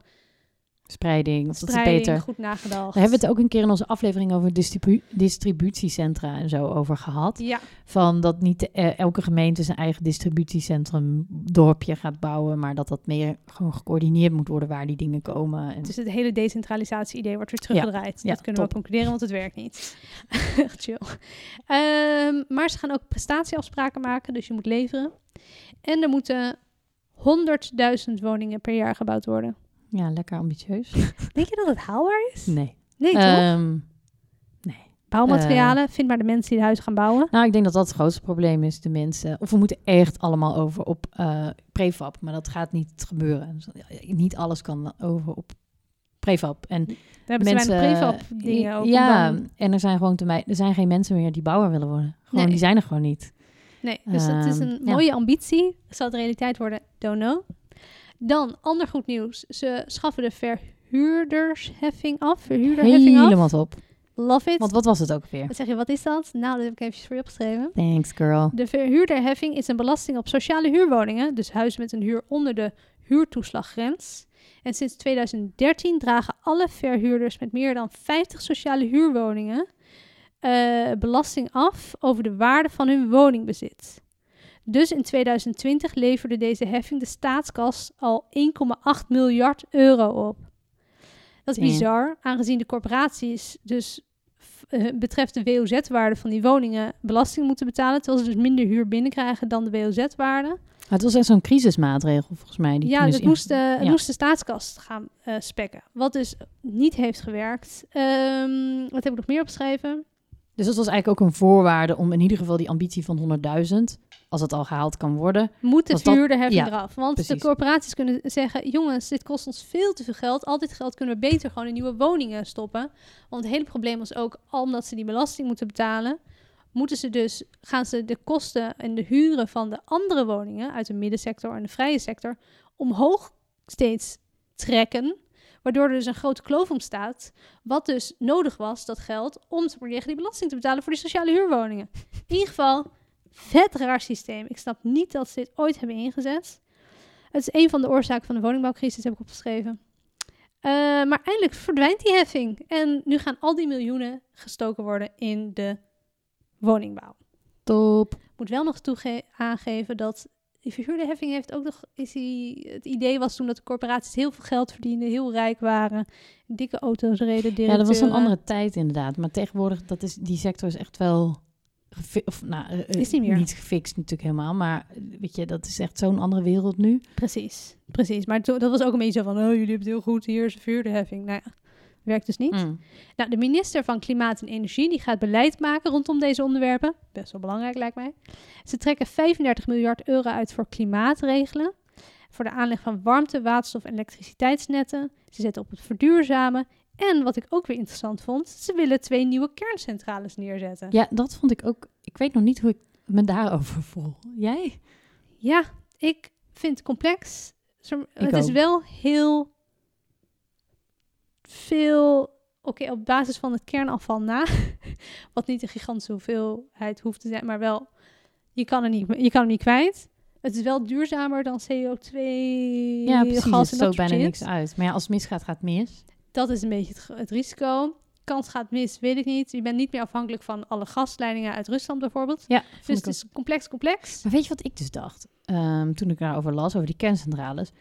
Speaker 2: Spreiding, of dat is
Speaker 3: spreiding
Speaker 2: beter.
Speaker 3: goed nagedacht.
Speaker 2: Daar hebben we het ook een keer in onze aflevering over distribu- distributiecentra en zo over gehad.
Speaker 3: Ja,
Speaker 2: Van dat niet eh, elke gemeente zijn eigen distributiecentrum dorpje gaat bouwen, maar dat dat meer gewoon gecoördineerd moet worden waar die dingen komen. En
Speaker 3: Dus het hele decentralisatie-idee wordt weer teruggedraaid.
Speaker 2: Ja,
Speaker 3: dat
Speaker 2: ja,
Speaker 3: kunnen
Speaker 2: top.
Speaker 3: we wel concluderen, want het werkt niet. Echt chill. Ehm, maar ze gaan ook prestatieafspraken maken, dus je moet leveren. En er moeten 100.000 woningen per jaar gebouwd worden.
Speaker 2: ja, lekker ambitieus.
Speaker 3: Denk je dat het haalbaar is? Eh,
Speaker 2: Nee.
Speaker 3: Nee, toch?
Speaker 2: Ehm,
Speaker 3: Bouwmaterialen, vind maar de mensen die de huizen gaan bouwen.
Speaker 2: nou, ik denk dat dat het grootste probleem is, de mensen. Of we moeten echt allemaal over op eh, prefab, maar dat gaat niet gebeuren. Dus, eh, Niet alles kan over op prefab. En
Speaker 3: Daar hebben ze
Speaker 2: mensen, eh,
Speaker 3: weinig prefab dingen ook. om
Speaker 2: Ja,
Speaker 3: dan-
Speaker 2: en er zijn gewoon te mij, er zijn geen mensen meer die bouwer willen worden. Gewoon,
Speaker 3: Nee.
Speaker 2: die zijn er gewoon niet.
Speaker 3: nee, dus het is
Speaker 2: Ehm,
Speaker 3: een
Speaker 2: ja.
Speaker 3: mooie ambitie. Zal het realiteit worden? Don't know. Dan, ander goed nieuws. Ze schaffen de verhuurdersheffing af. Verhuurderheffing
Speaker 2: Helemaal
Speaker 3: af.
Speaker 2: top.
Speaker 3: Love it.
Speaker 2: Want wat was het ook weer?
Speaker 3: Dan zeg je, wat is dat? Nou, dat heb ik eventjes voor je opgeschreven.
Speaker 2: Thanks, girl.
Speaker 3: De verhuurderheffing is een belasting op sociale huurwoningen, dus huizen met een huur onder de huurtoeslaggrens. En sinds 2013 dragen alle verhuurders met meer dan 50 sociale huurwoningen eh, belasting af over de waarde van hun woningbezit. Dus in 2020 leverde deze heffing de staatskas al 1,8 miljard euro op. Dat is
Speaker 2: Ja.
Speaker 3: bizar, aangezien de corporaties dus f- eh, betreft de WOZ-waarde van die woningen belasting moeten betalen, terwijl ze dus minder huur binnenkrijgen dan de WOZ-waarde.
Speaker 2: Maar het was echt zo'n crisismaatregel volgens mij. Die
Speaker 3: Ja,
Speaker 2: toen is
Speaker 3: dat
Speaker 2: inge-
Speaker 3: moest, eh- de, het
Speaker 2: ja.
Speaker 3: moest de staatskast gaan eh, spekken, wat dus niet heeft gewerkt. Ehm, wat heb ik nog meer opgeschreven?
Speaker 2: Dus dat was eigenlijk ook een voorwaarde om in ieder geval die ambitie van 100.000, als dat al gehaald kan worden.
Speaker 3: Moet de
Speaker 2: Was dat-
Speaker 3: verhuurderheffing
Speaker 2: ja,
Speaker 3: eraf? Want
Speaker 2: precies.
Speaker 3: de corporaties kunnen zeggen, jongens, dit kost ons veel te veel geld. Al dit geld kunnen we beter gewoon in nieuwe woningen stoppen. Want het hele probleem was ook, al omdat ze die belasting moeten betalen, moeten ze dus, gaan ze de kosten en de huren van de andere woningen uit de middensector en de vrije sector omhoog steeds trekken. Waardoor er dus een grote kloof ontstaat. Wat dus nodig was, dat geld, om te proberen die belasting te betalen voor die sociale huurwoningen. In ieder geval, vet raar systeem. Ik snap niet dat ze dit ooit hebben ingezet. Het is een van de oorzaken van de woningbouwcrisis, heb ik opgeschreven. Eh, maar eindelijk verdwijnt die heffing. En nu gaan al die miljoenen gestoken worden in de woningbouw.
Speaker 2: Top.
Speaker 3: Ik moet wel nog toege- aangeven dat die verhuurderheffing heeft ook nog... Is die, het idee was toen dat de corporaties heel veel geld verdienden, heel rijk waren, dikke auto's reden,
Speaker 2: Ja, dat was een
Speaker 3: directeuren.
Speaker 2: andere tijd inderdaad. Maar tegenwoordig, dat is, die sector is echt wel... gefi- Of, nou, eh, eh,
Speaker 3: Is niet meer.
Speaker 2: gefixt natuurlijk helemaal, maar eh, weet je, dat is echt zo'n andere wereld nu.
Speaker 3: Precies, precies. Maar to- dat was ook een beetje zo van, oh, jullie hebben het heel goed, hier is een verhuurderheffing. Nou ja, werkt dus niet.
Speaker 2: Mm.
Speaker 3: Nou, de minister van Klimaat en Energie die gaat beleid maken rondom deze onderwerpen. Best wel belangrijk, lijkt mij. Ze trekken 35 miljard euro uit voor klimaatregelen. Voor de aanleg van warmte, waterstof en elektriciteitsnetten. Ze zetten op het verduurzamen. En wat ik ook weer interessant vond, ze willen twee nieuwe kerncentrales neerzetten.
Speaker 2: Ja, dat vond ik ook... Ik weet nog niet hoe ik me daarover voel. Jij?
Speaker 3: Ja, ik vind het complex. Zo- het is
Speaker 2: ook.
Speaker 3: wel heel veel. Oké, op basis van het kernafval na. Wat niet een gigantische hoeveelheid hoeft te zijn, maar wel. Je kan, er niet, je kan hem niet kwijt. Het is wel duurzamer dan CO2.
Speaker 2: Ja,
Speaker 3: gas en
Speaker 2: precies. het stoot
Speaker 3: dat soort
Speaker 2: bijna
Speaker 3: shit.
Speaker 2: niks uit. Maar ja, als het misgaat, gaat het mis.
Speaker 3: Dat is een beetje het, het risico. Kans gaat mis, weet ik niet. Je bent niet meer afhankelijk van alle gasleidingen uit Rusland bijvoorbeeld.
Speaker 2: Ja,
Speaker 3: Dus het is complex, complex.
Speaker 2: Maar weet je wat ik dus dacht? Ehm, toen ik daarover las, over die kerncentrales.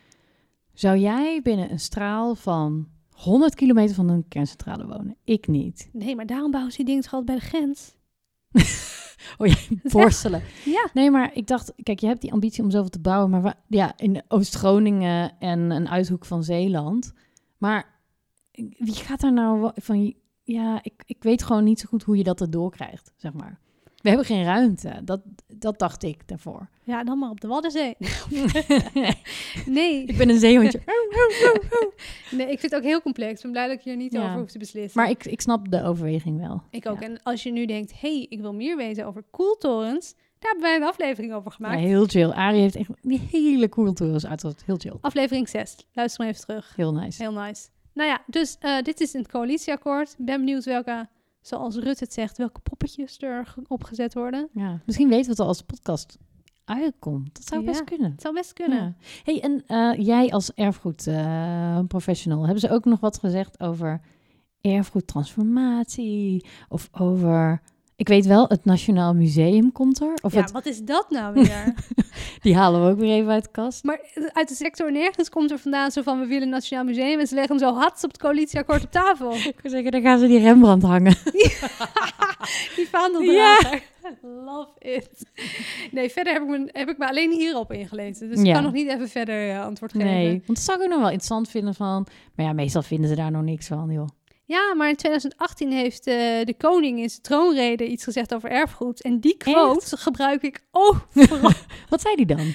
Speaker 2: Zou jij binnen een straal van 100 kilometer van een kerncentrale wonen? Ik niet.
Speaker 3: Nee, maar daarom bouwen ze die dingen toch altijd bij de grens.
Speaker 2: Oh, Borstelen.
Speaker 3: Ja.
Speaker 2: Nee, maar ik dacht, kijk, je hebt die ambitie om zoveel te bouwen. Maar wa- ja, in Oost-Groningen en een uithoek van Zeeland. Maar wie gaat daar nou wa- van... Ja, ik, ik weet gewoon niet zo goed hoe je dat erdoor krijgt, zeg maar. We hebben geen ruimte. Dat, dat dacht ik daarvoor.
Speaker 3: Ja, dan maar op de Waddenzee. nee.
Speaker 2: ik ben een zeehondje.
Speaker 3: nee, ik vind het ook heel complex. Ik ben blij dat ik hier niet
Speaker 2: Ja.
Speaker 3: over hoef te beslissen.
Speaker 2: Maar ik, ik snap de overweging wel.
Speaker 3: ik ook.
Speaker 2: Ja.
Speaker 3: En als je nu denkt, hé, hey, ik wil meer weten over koeltorens. Daar hebben wij een aflevering over
Speaker 2: Ja,
Speaker 3: gemaakt.
Speaker 2: heel chill. Arie heeft echt die hele cool tours uit. Dat is heel chill.
Speaker 3: Aflevering 6. Luister maar even terug.
Speaker 2: Heel nice.
Speaker 3: Heel nice. Nou ja, dus eh, dit is een coalitieakkoord. Ik ben benieuwd welke, zoals Rutte het zegt, welke poppetjes er ge- opgezet worden.
Speaker 2: Ja. Misschien weten we het al als de podcast uitkomt. Dat zou
Speaker 3: Ja,
Speaker 2: best kunnen.
Speaker 3: Het zou best kunnen.
Speaker 2: Ja. Hey, en eh, jij als erfgoedprofessional, professional, hebben ze ook nog wat gezegd over erfgoedtransformatie? Of over, ik weet wel, het Nationaal Museum komt er. Of
Speaker 3: ja,
Speaker 2: het,
Speaker 3: wat is dat nou weer?
Speaker 2: die halen we ook weer even uit de kast.
Speaker 3: Maar eh, uit de sector nergens komt er vandaan zo van we willen een nationaal museum en ze leggen hem zo hard op het coalitieakkoord op tafel.
Speaker 2: Ik wil zeggen, daar gaan ze die Rembrandt hangen.
Speaker 3: Die vaandeldrager. Love it. Nee, verder heb ik me, heb ik me alleen hierop ingelezen. Dus ik
Speaker 2: Ja.
Speaker 3: kan nog niet even verder eh, antwoord geven.
Speaker 2: Nee, want dat zou ik ook nog wel interessant vinden van... Maar ja, meestal vinden ze daar nog niks van, joh.
Speaker 3: Ja, maar in 2018 heeft eh, de koning in zijn troonrede iets gezegd over erfgoed. En die quote gebruik ik overal.
Speaker 2: Wat zei die dan?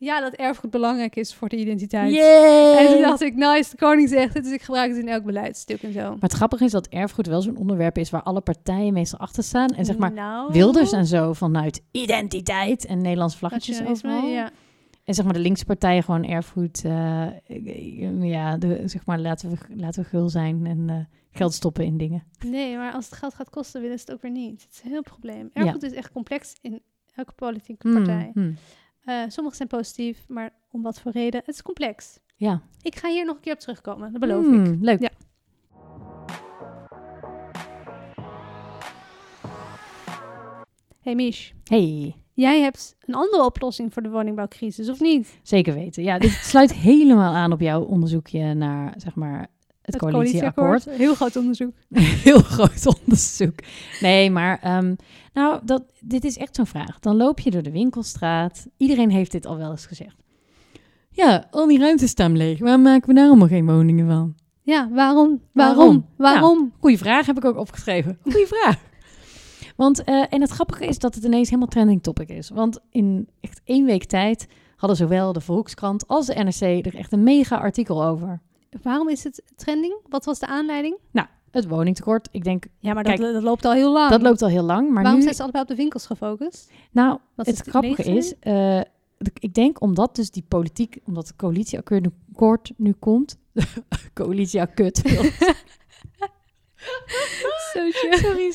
Speaker 3: ja, dat erfgoed belangrijk is voor de identiteit.
Speaker 2: Yay!
Speaker 3: En toen dacht ik, nice, de koning zegt het, dus ik gebruik het in elk beleidstuk en zo.
Speaker 2: Maar het grappige is dat erfgoed wel zo'n onderwerp is... waar alle partijen meestal achter staan. En zeg maar
Speaker 3: Nou,
Speaker 2: Wilders en zo vanuit nou, identiteit en Nederlands vlaggetjes
Speaker 3: nationalisme,
Speaker 2: overal.
Speaker 3: Ja.
Speaker 2: En zeg maar de linkse partijen gewoon erfgoed. eh, ja, de, zeg maar laten we, laten we gul zijn en eh, geld stoppen in dingen.
Speaker 3: Nee, maar als het geld gaat kosten, willen ze het ook weer niet. Het is een heel probleem.
Speaker 2: Ja.
Speaker 3: Erfgoed is echt complex in elke politieke
Speaker 2: Hmm,
Speaker 3: partij.
Speaker 2: hmm.
Speaker 3: Eh, sommige zijn positief, maar om wat voor reden? Het is complex.
Speaker 2: Ja,
Speaker 3: Ik ga hier nog een keer op terugkomen, dat beloof ik.
Speaker 2: Hmm, Leuk.
Speaker 3: Ja. Hey Mish,
Speaker 2: Hey,
Speaker 3: jij hebt een andere oplossing voor de woningbouwcrisis, of niet?
Speaker 2: zeker weten. Ja, dit sluit helemaal aan op jouw onderzoekje naar zeg maar het, coalitieakkoord.
Speaker 3: Heel groot onderzoek.
Speaker 2: Heel groot onderzoek. Nee, maar ehm, nou, dat, dit is echt zo'n vraag. Dan loop je door de winkelstraat. Iedereen heeft dit al wel eens gezegd. Ja, al die ruimtes staan leeg. Waarom maken we daar allemaal geen woningen van?
Speaker 3: Ja, waarom?
Speaker 2: Waarom?
Speaker 3: Waarom? Waarom?
Speaker 2: Goeie vraag heb ik ook opgeschreven. Goeie vraag. Want, eh, en het grappige is dat het ineens helemaal trending topic is. Want in echt één week tijd hadden zowel de Volkskrant als de NRC er echt een mega artikel over.
Speaker 3: Waarom is het trending? Wat was de aanleiding?
Speaker 2: Het woningtekort, ik denk,
Speaker 3: Ja, maar
Speaker 2: Kijk,
Speaker 3: dat, dat loopt al heel lang.
Speaker 2: dat loopt al heel lang. Maar
Speaker 3: waarom
Speaker 2: nu,
Speaker 3: zijn ze allebei op de winkels gefocust?
Speaker 2: nou,
Speaker 3: Wat
Speaker 2: het
Speaker 3: is de
Speaker 2: grappige
Speaker 3: reden?
Speaker 2: is, eh, d- ik denk omdat dus die politiek, omdat het coalitieakkoord nu komt, coalitieakkoord,
Speaker 3: Sorry,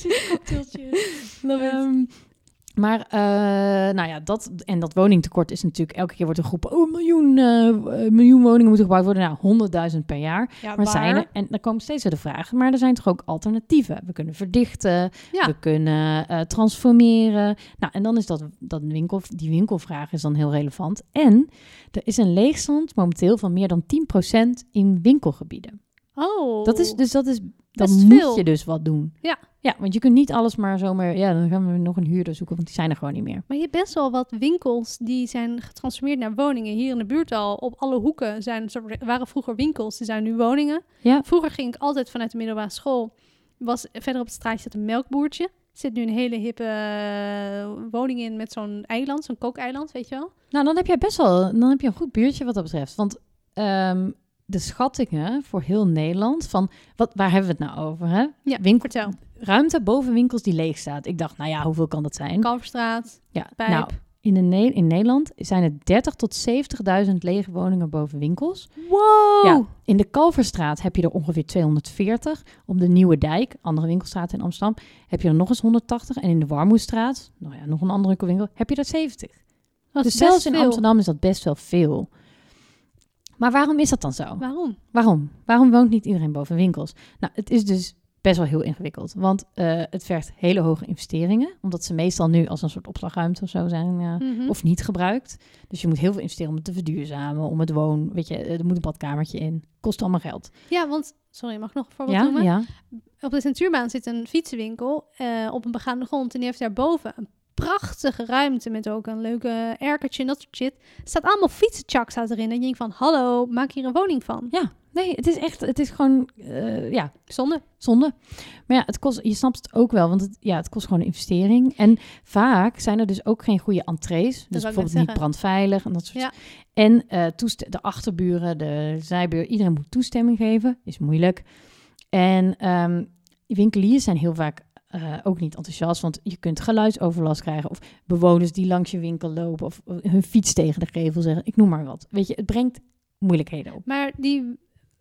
Speaker 2: Ehm, maar, eh, nou ja, dat, en dat woningtekort is natuurlijk... Elke keer wordt er geroepen... Oh, een miljoen, eh, eh, miljoen woningen moeten gebouwd worden. Nou, 100.000 per jaar.
Speaker 3: Ja,
Speaker 2: Maar zijn er, en dan komen steeds weer de vragen... Maar er zijn toch ook alternatieven? We kunnen verdichten.
Speaker 3: Ja.
Speaker 2: We kunnen eh, transformeren. Nou, en dan is dat, dat winkel, die winkelvraag is dan heel relevant. En er is een leegstand momenteel van meer dan 10% in winkelgebieden.
Speaker 3: Oh.
Speaker 2: Dat is, dus dat is, dan
Speaker 3: Best
Speaker 2: moet
Speaker 3: veel.
Speaker 2: je dus wat doen.
Speaker 3: Ja.
Speaker 2: Ja, want je kunt niet alles maar zomaar... Ja, dan gaan we nog een huurder zoeken, want die zijn er gewoon niet meer.
Speaker 3: Maar je hebt best wel wat winkels die zijn getransformeerd naar woningen. Hier in de buurt al, op alle hoeken zijn, waren vroeger winkels, die zijn nu woningen.
Speaker 2: Ja.
Speaker 3: Vroeger ging ik altijd vanuit de middelbare school. Was, verder op het straatje zat een melkboertje. Er zit nu een hele hippe eh, woning in met zo'n eiland, zo'n kookeiland, weet je wel.
Speaker 2: Nou, dan heb jij best wel... Dan heb je een goed buurtje wat dat betreft. Want ehm, de schattingen voor heel Nederland... van wat, waar hebben we het nou over, hè?
Speaker 3: Ja,
Speaker 2: Winkel,
Speaker 3: vertel.
Speaker 2: ruimte boven winkels die leeg staat. Ik dacht, nou ja, hoeveel kan dat zijn?
Speaker 3: Kalverstraat,
Speaker 2: ja,
Speaker 3: pijp.
Speaker 2: nou, in, de Ne- in Nederland zijn er 30.000 tot 70.000 lege woningen boven winkels.
Speaker 3: Wow!
Speaker 2: Ja, in de Kalverstraat heb je er ongeveer 240. Op de Nieuwe Dijk, andere winkelstraat in Amsterdam, heb je er nog eens 180. En in de Warmoestraat, nou ja, nog een andere winkel, heb je er 70.
Speaker 3: Dat is
Speaker 2: dus zelfs
Speaker 3: best
Speaker 2: in
Speaker 3: veel.
Speaker 2: Amsterdam is dat best wel veel. Maar waarom is dat dan zo?
Speaker 3: Waarom?
Speaker 2: Waarom? Waarom woont niet iedereen boven winkels? Nou, het is dus best wel heel ingewikkeld. Want eh, het vergt hele hoge investeringen. Omdat ze meestal nu als een soort opslagruimte of zo zijn. eh,
Speaker 3: Mhm.
Speaker 2: Of niet gebruikt. Dus je moet heel veel investeren om het te verduurzamen. Om het woon. Weet je, er moet een badkamertje in. Kost allemaal geld.
Speaker 3: Ja, want... Sorry, mag ik nog een voorbeeld
Speaker 2: Ja,
Speaker 3: noemen?
Speaker 2: ja.
Speaker 3: Op de Centuurbaan zit een fietsenwinkel eh, op een begaande grond. En die heeft daarboven een prachtige ruimte met ook een leuke erkertje en dat soort shit. Er staat allemaal fietsenchak staat erin. En je denkt van, hallo, maak hier een woning van.
Speaker 2: Nee, het is echt. Het is gewoon. eh, ja,
Speaker 3: Zonde.
Speaker 2: Zonde. Maar ja, het kost, je snapt het ook wel, want het, ja, het kost gewoon een investering. En vaak zijn er dus ook geen goede entrees. Dus
Speaker 3: wou ik net
Speaker 2: bijvoorbeeld niet
Speaker 3: zeggen.
Speaker 2: brandveilig en dat soort
Speaker 3: Ja.
Speaker 2: En eh, toest- de achterburen, de zijburen, iedereen moet toestemming geven. Is moeilijk. En ehm, winkeliers zijn heel vaak eh, ook niet enthousiast, want je kunt geluidsoverlast krijgen. Of bewoners die langs je winkel lopen of eh, hun fiets tegen de gevel zeggen. Ik noem maar wat. Weet je, het brengt moeilijkheden op.
Speaker 3: Maar die,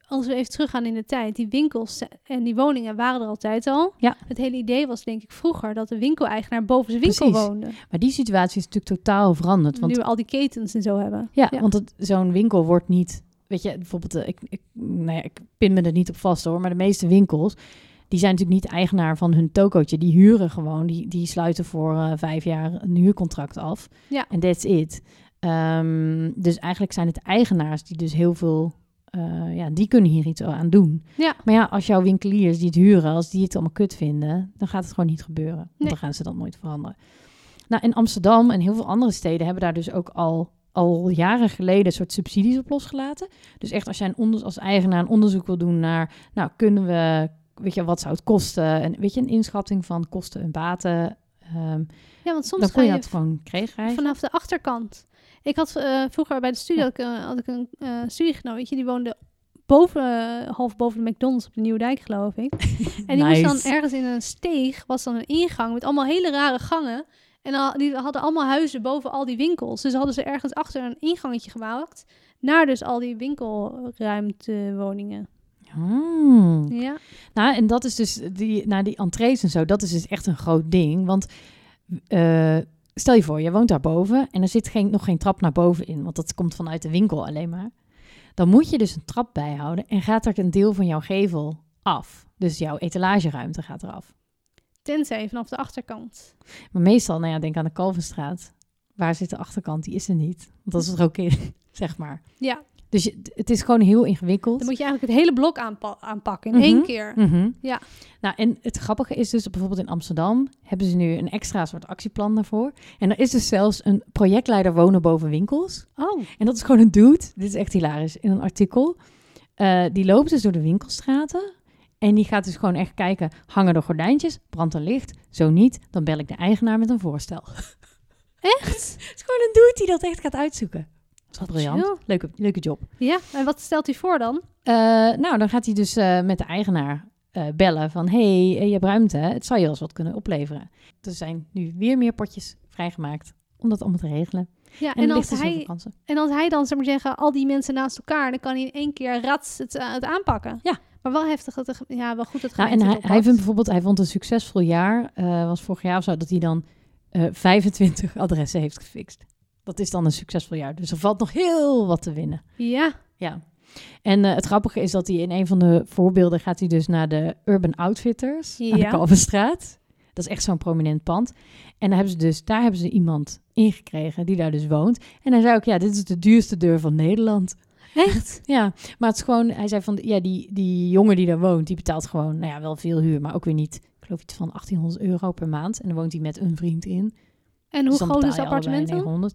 Speaker 3: als we even teruggaan in de tijd, die winkels en die woningen waren er altijd al.
Speaker 2: Ja.
Speaker 3: Het hele idee was denk ik vroeger dat de winkeleigenaar boven zijn winkel
Speaker 2: Precies.
Speaker 3: woonde.
Speaker 2: Maar die situatie is natuurlijk totaal veranderd. Want
Speaker 3: Nu we al die ketens en zo hebben.
Speaker 2: Ja,
Speaker 3: Ja.
Speaker 2: want het- zo'n winkel wordt niet. Weet je, bijvoorbeeld, eh, ik, ik, nou ja, ik pin me er niet op vast hoor, maar de meeste winkels. Die zijn natuurlijk niet eigenaar van hun tokootje. Die huren gewoon. Die, die sluiten voor eh, vijf jaar een huurcontract af.
Speaker 3: Ja.
Speaker 2: En that's it. Ehm, dus eigenlijk zijn het eigenaars die dus heel veel... eh, ja, die kunnen hier iets aan doen.
Speaker 3: Ja.
Speaker 2: Maar ja, als jouw winkeliers die het huren... als die het allemaal kut vinden... dan gaat het gewoon niet gebeuren. Want
Speaker 3: Nee.
Speaker 2: dan gaan ze dat nooit veranderen. Nou, in Amsterdam en heel veel andere steden... hebben daar dus ook al, al jaren geleden... een soort subsidies op losgelaten. Dus echt als jij een onder, als eigenaar een onderzoek wil doen naar... nou, kunnen we... weet je, wat zou het kosten? En weet je, een inschatting van kosten en baten... ehm,
Speaker 3: Ja, want soms
Speaker 2: dan
Speaker 3: ga
Speaker 2: kon je
Speaker 3: je
Speaker 2: dat gewoon kregen eigenlijk.
Speaker 3: Vanaf de achterkant. Ik had eh, vroeger bij de studie had ik, eh, had ik een eh studiegenootje. Die woonde boven, eh, half boven de McDonald's op de Nieuwdijk, geloof ik. En die moest
Speaker 2: Nice.
Speaker 3: dan ergens in een steeg, was dan een ingang met allemaal hele rare gangen. En al, die hadden allemaal huizen boven al die winkels. Dus hadden ze ergens achter een ingangetje gebouwd. Naar dus al die winkelruimtewoningen.
Speaker 2: Hmm.
Speaker 3: Ja.
Speaker 2: Nou, en dat is dus die, nou, die entrees en zo, dat is dus echt een groot ding. Want eh, stel je voor, je woont daarboven en er zit geen, nog geen trap naar boven in, want dat komt vanuit de winkel alleen maar. Dan moet je dus een trap bijhouden en gaat er een deel van jouw gevel af. Dus jouw etalageruimte gaat eraf.
Speaker 3: Tenzij vanaf de achterkant.
Speaker 2: Maar meestal, nou ja, denk aan de Kalverstraat. Waar zit de achterkant? Die is er niet. Want dat is er ook in, zeg maar.
Speaker 3: Ja.
Speaker 2: Dus je, het is gewoon heel ingewikkeld.
Speaker 3: Dan moet je eigenlijk het hele blok aanpa- aanpakken in één
Speaker 2: Mhm.
Speaker 3: keer.
Speaker 2: Mhm.
Speaker 3: Ja.
Speaker 2: Nou, en het grappige is dus, bijvoorbeeld in Amsterdam hebben ze nu een extra soort actieplan daarvoor. En er is dus zelfs een projectleider wonen boven winkels.
Speaker 3: Oh.
Speaker 2: En dat is gewoon een dude, dit is echt hilarisch, in een artikel. Eh, die loopt dus door de winkelstraten. En die gaat dus gewoon echt kijken, hangen er gordijntjes, brandt er licht? Zo niet, dan bel ik de eigenaar met een voorstel.
Speaker 3: Echt?
Speaker 2: Het is gewoon een dude die dat echt gaat uitzoeken. Dat is wel
Speaker 3: chill.
Speaker 2: briljant. Leuke, leuke job.
Speaker 3: Ja. En wat stelt hij voor dan?
Speaker 2: Eh, nou, dan gaat hij dus eh, met de eigenaar eh, bellen van... hey, eh, je hebt ruimte, hè? het zou je wel eens wat kunnen opleveren. Er zijn nu weer meer potjes vrijgemaakt om dat allemaal te regelen.
Speaker 3: Ja.
Speaker 2: En,
Speaker 3: En,
Speaker 2: er
Speaker 3: als
Speaker 2: ligt dus heel veel
Speaker 3: hij,
Speaker 2: kansen.
Speaker 3: en als hij dan, zeg maar zeggen, al die mensen naast elkaar, dan kan hij in één keer rats het, eh, het aanpakken.
Speaker 2: Ja.
Speaker 3: Maar wel heftig dat de ge- ja, wel goed dat
Speaker 2: Nou, en
Speaker 3: gemeente
Speaker 2: hij,
Speaker 3: het
Speaker 2: hij
Speaker 3: oppakt.
Speaker 2: vindt bijvoorbeeld, hij vond een succesvol jaar, eh, was vorig jaar of zo, dat hij dan eh, 25 adressen heeft gefixt. Dat is dan een succesvol jaar. Dus er valt nog heel wat te winnen.
Speaker 3: Ja.
Speaker 2: Ja. En eh, het grappige is dat hij in een van de voorbeelden gaat hij dus naar de Urban Outfitters aan de
Speaker 3: Ja.
Speaker 2: Kalverstraat. Dat is echt zo'n prominent pand. En daar hebben ze dus, daar hebben ze iemand ingekregen die daar dus woont. En hij zei ook, ja, dit is de duurste deur van Nederland.
Speaker 3: Echt?
Speaker 2: Ja, maar het is gewoon, hij zei van, ja, die, die jongen die daar woont, die betaalt gewoon, nou ja, wel veel huur, maar ook weer niet, ik geloof iets van 1800 euro per maand. En dan woont hij met een vriend in.
Speaker 3: En hoe
Speaker 2: Dus dan
Speaker 3: groot
Speaker 2: betaal
Speaker 3: is het
Speaker 2: je allebei
Speaker 3: appartement dan?
Speaker 2: 900.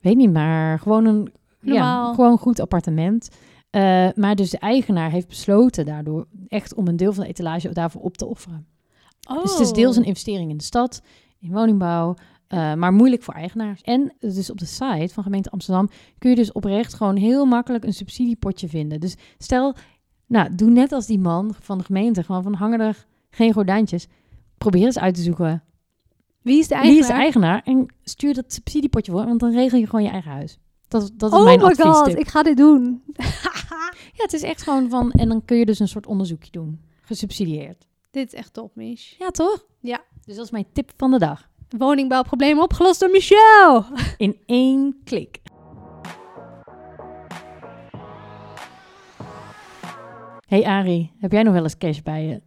Speaker 2: Weet niet, maar gewoon een
Speaker 3: Normaal.
Speaker 2: ja, gewoon een goed appartement. Eh, maar dus de eigenaar heeft besloten daardoor echt om een deel van de etalage daarvoor op te offeren.
Speaker 3: Oh.
Speaker 2: Dus het is deels een investering in de stad, in woningbouw, eh, maar moeilijk voor eigenaars. En dus op de site van gemeente Amsterdam kun je dus oprecht gewoon heel makkelijk een subsidiepotje vinden. Dus stel, nou, doe net als die man van de gemeente, gewoon van hangen er geen gordijntjes. Probeer eens uit te zoeken
Speaker 3: Wie is de eigenaar?
Speaker 2: wie is de eigenaar en stuur dat subsidiepotje voor, want dan regel je gewoon je eigen huis. Dat, dat is
Speaker 3: oh
Speaker 2: mijn
Speaker 3: my
Speaker 2: advies.
Speaker 3: god, ik ga dit doen.
Speaker 2: Ja, het is echt gewoon van. En dan kun je dus een soort onderzoekje doen. Gesubsidieerd.
Speaker 3: Dit is echt top, Mich.
Speaker 2: Ja, toch?
Speaker 3: Ja.
Speaker 2: Dus dat is mijn tip van de dag.
Speaker 3: Woningbouwproblemen opgelost door Michel.
Speaker 2: In één klik. Hey Ari, heb jij nog wel eens cash bij je?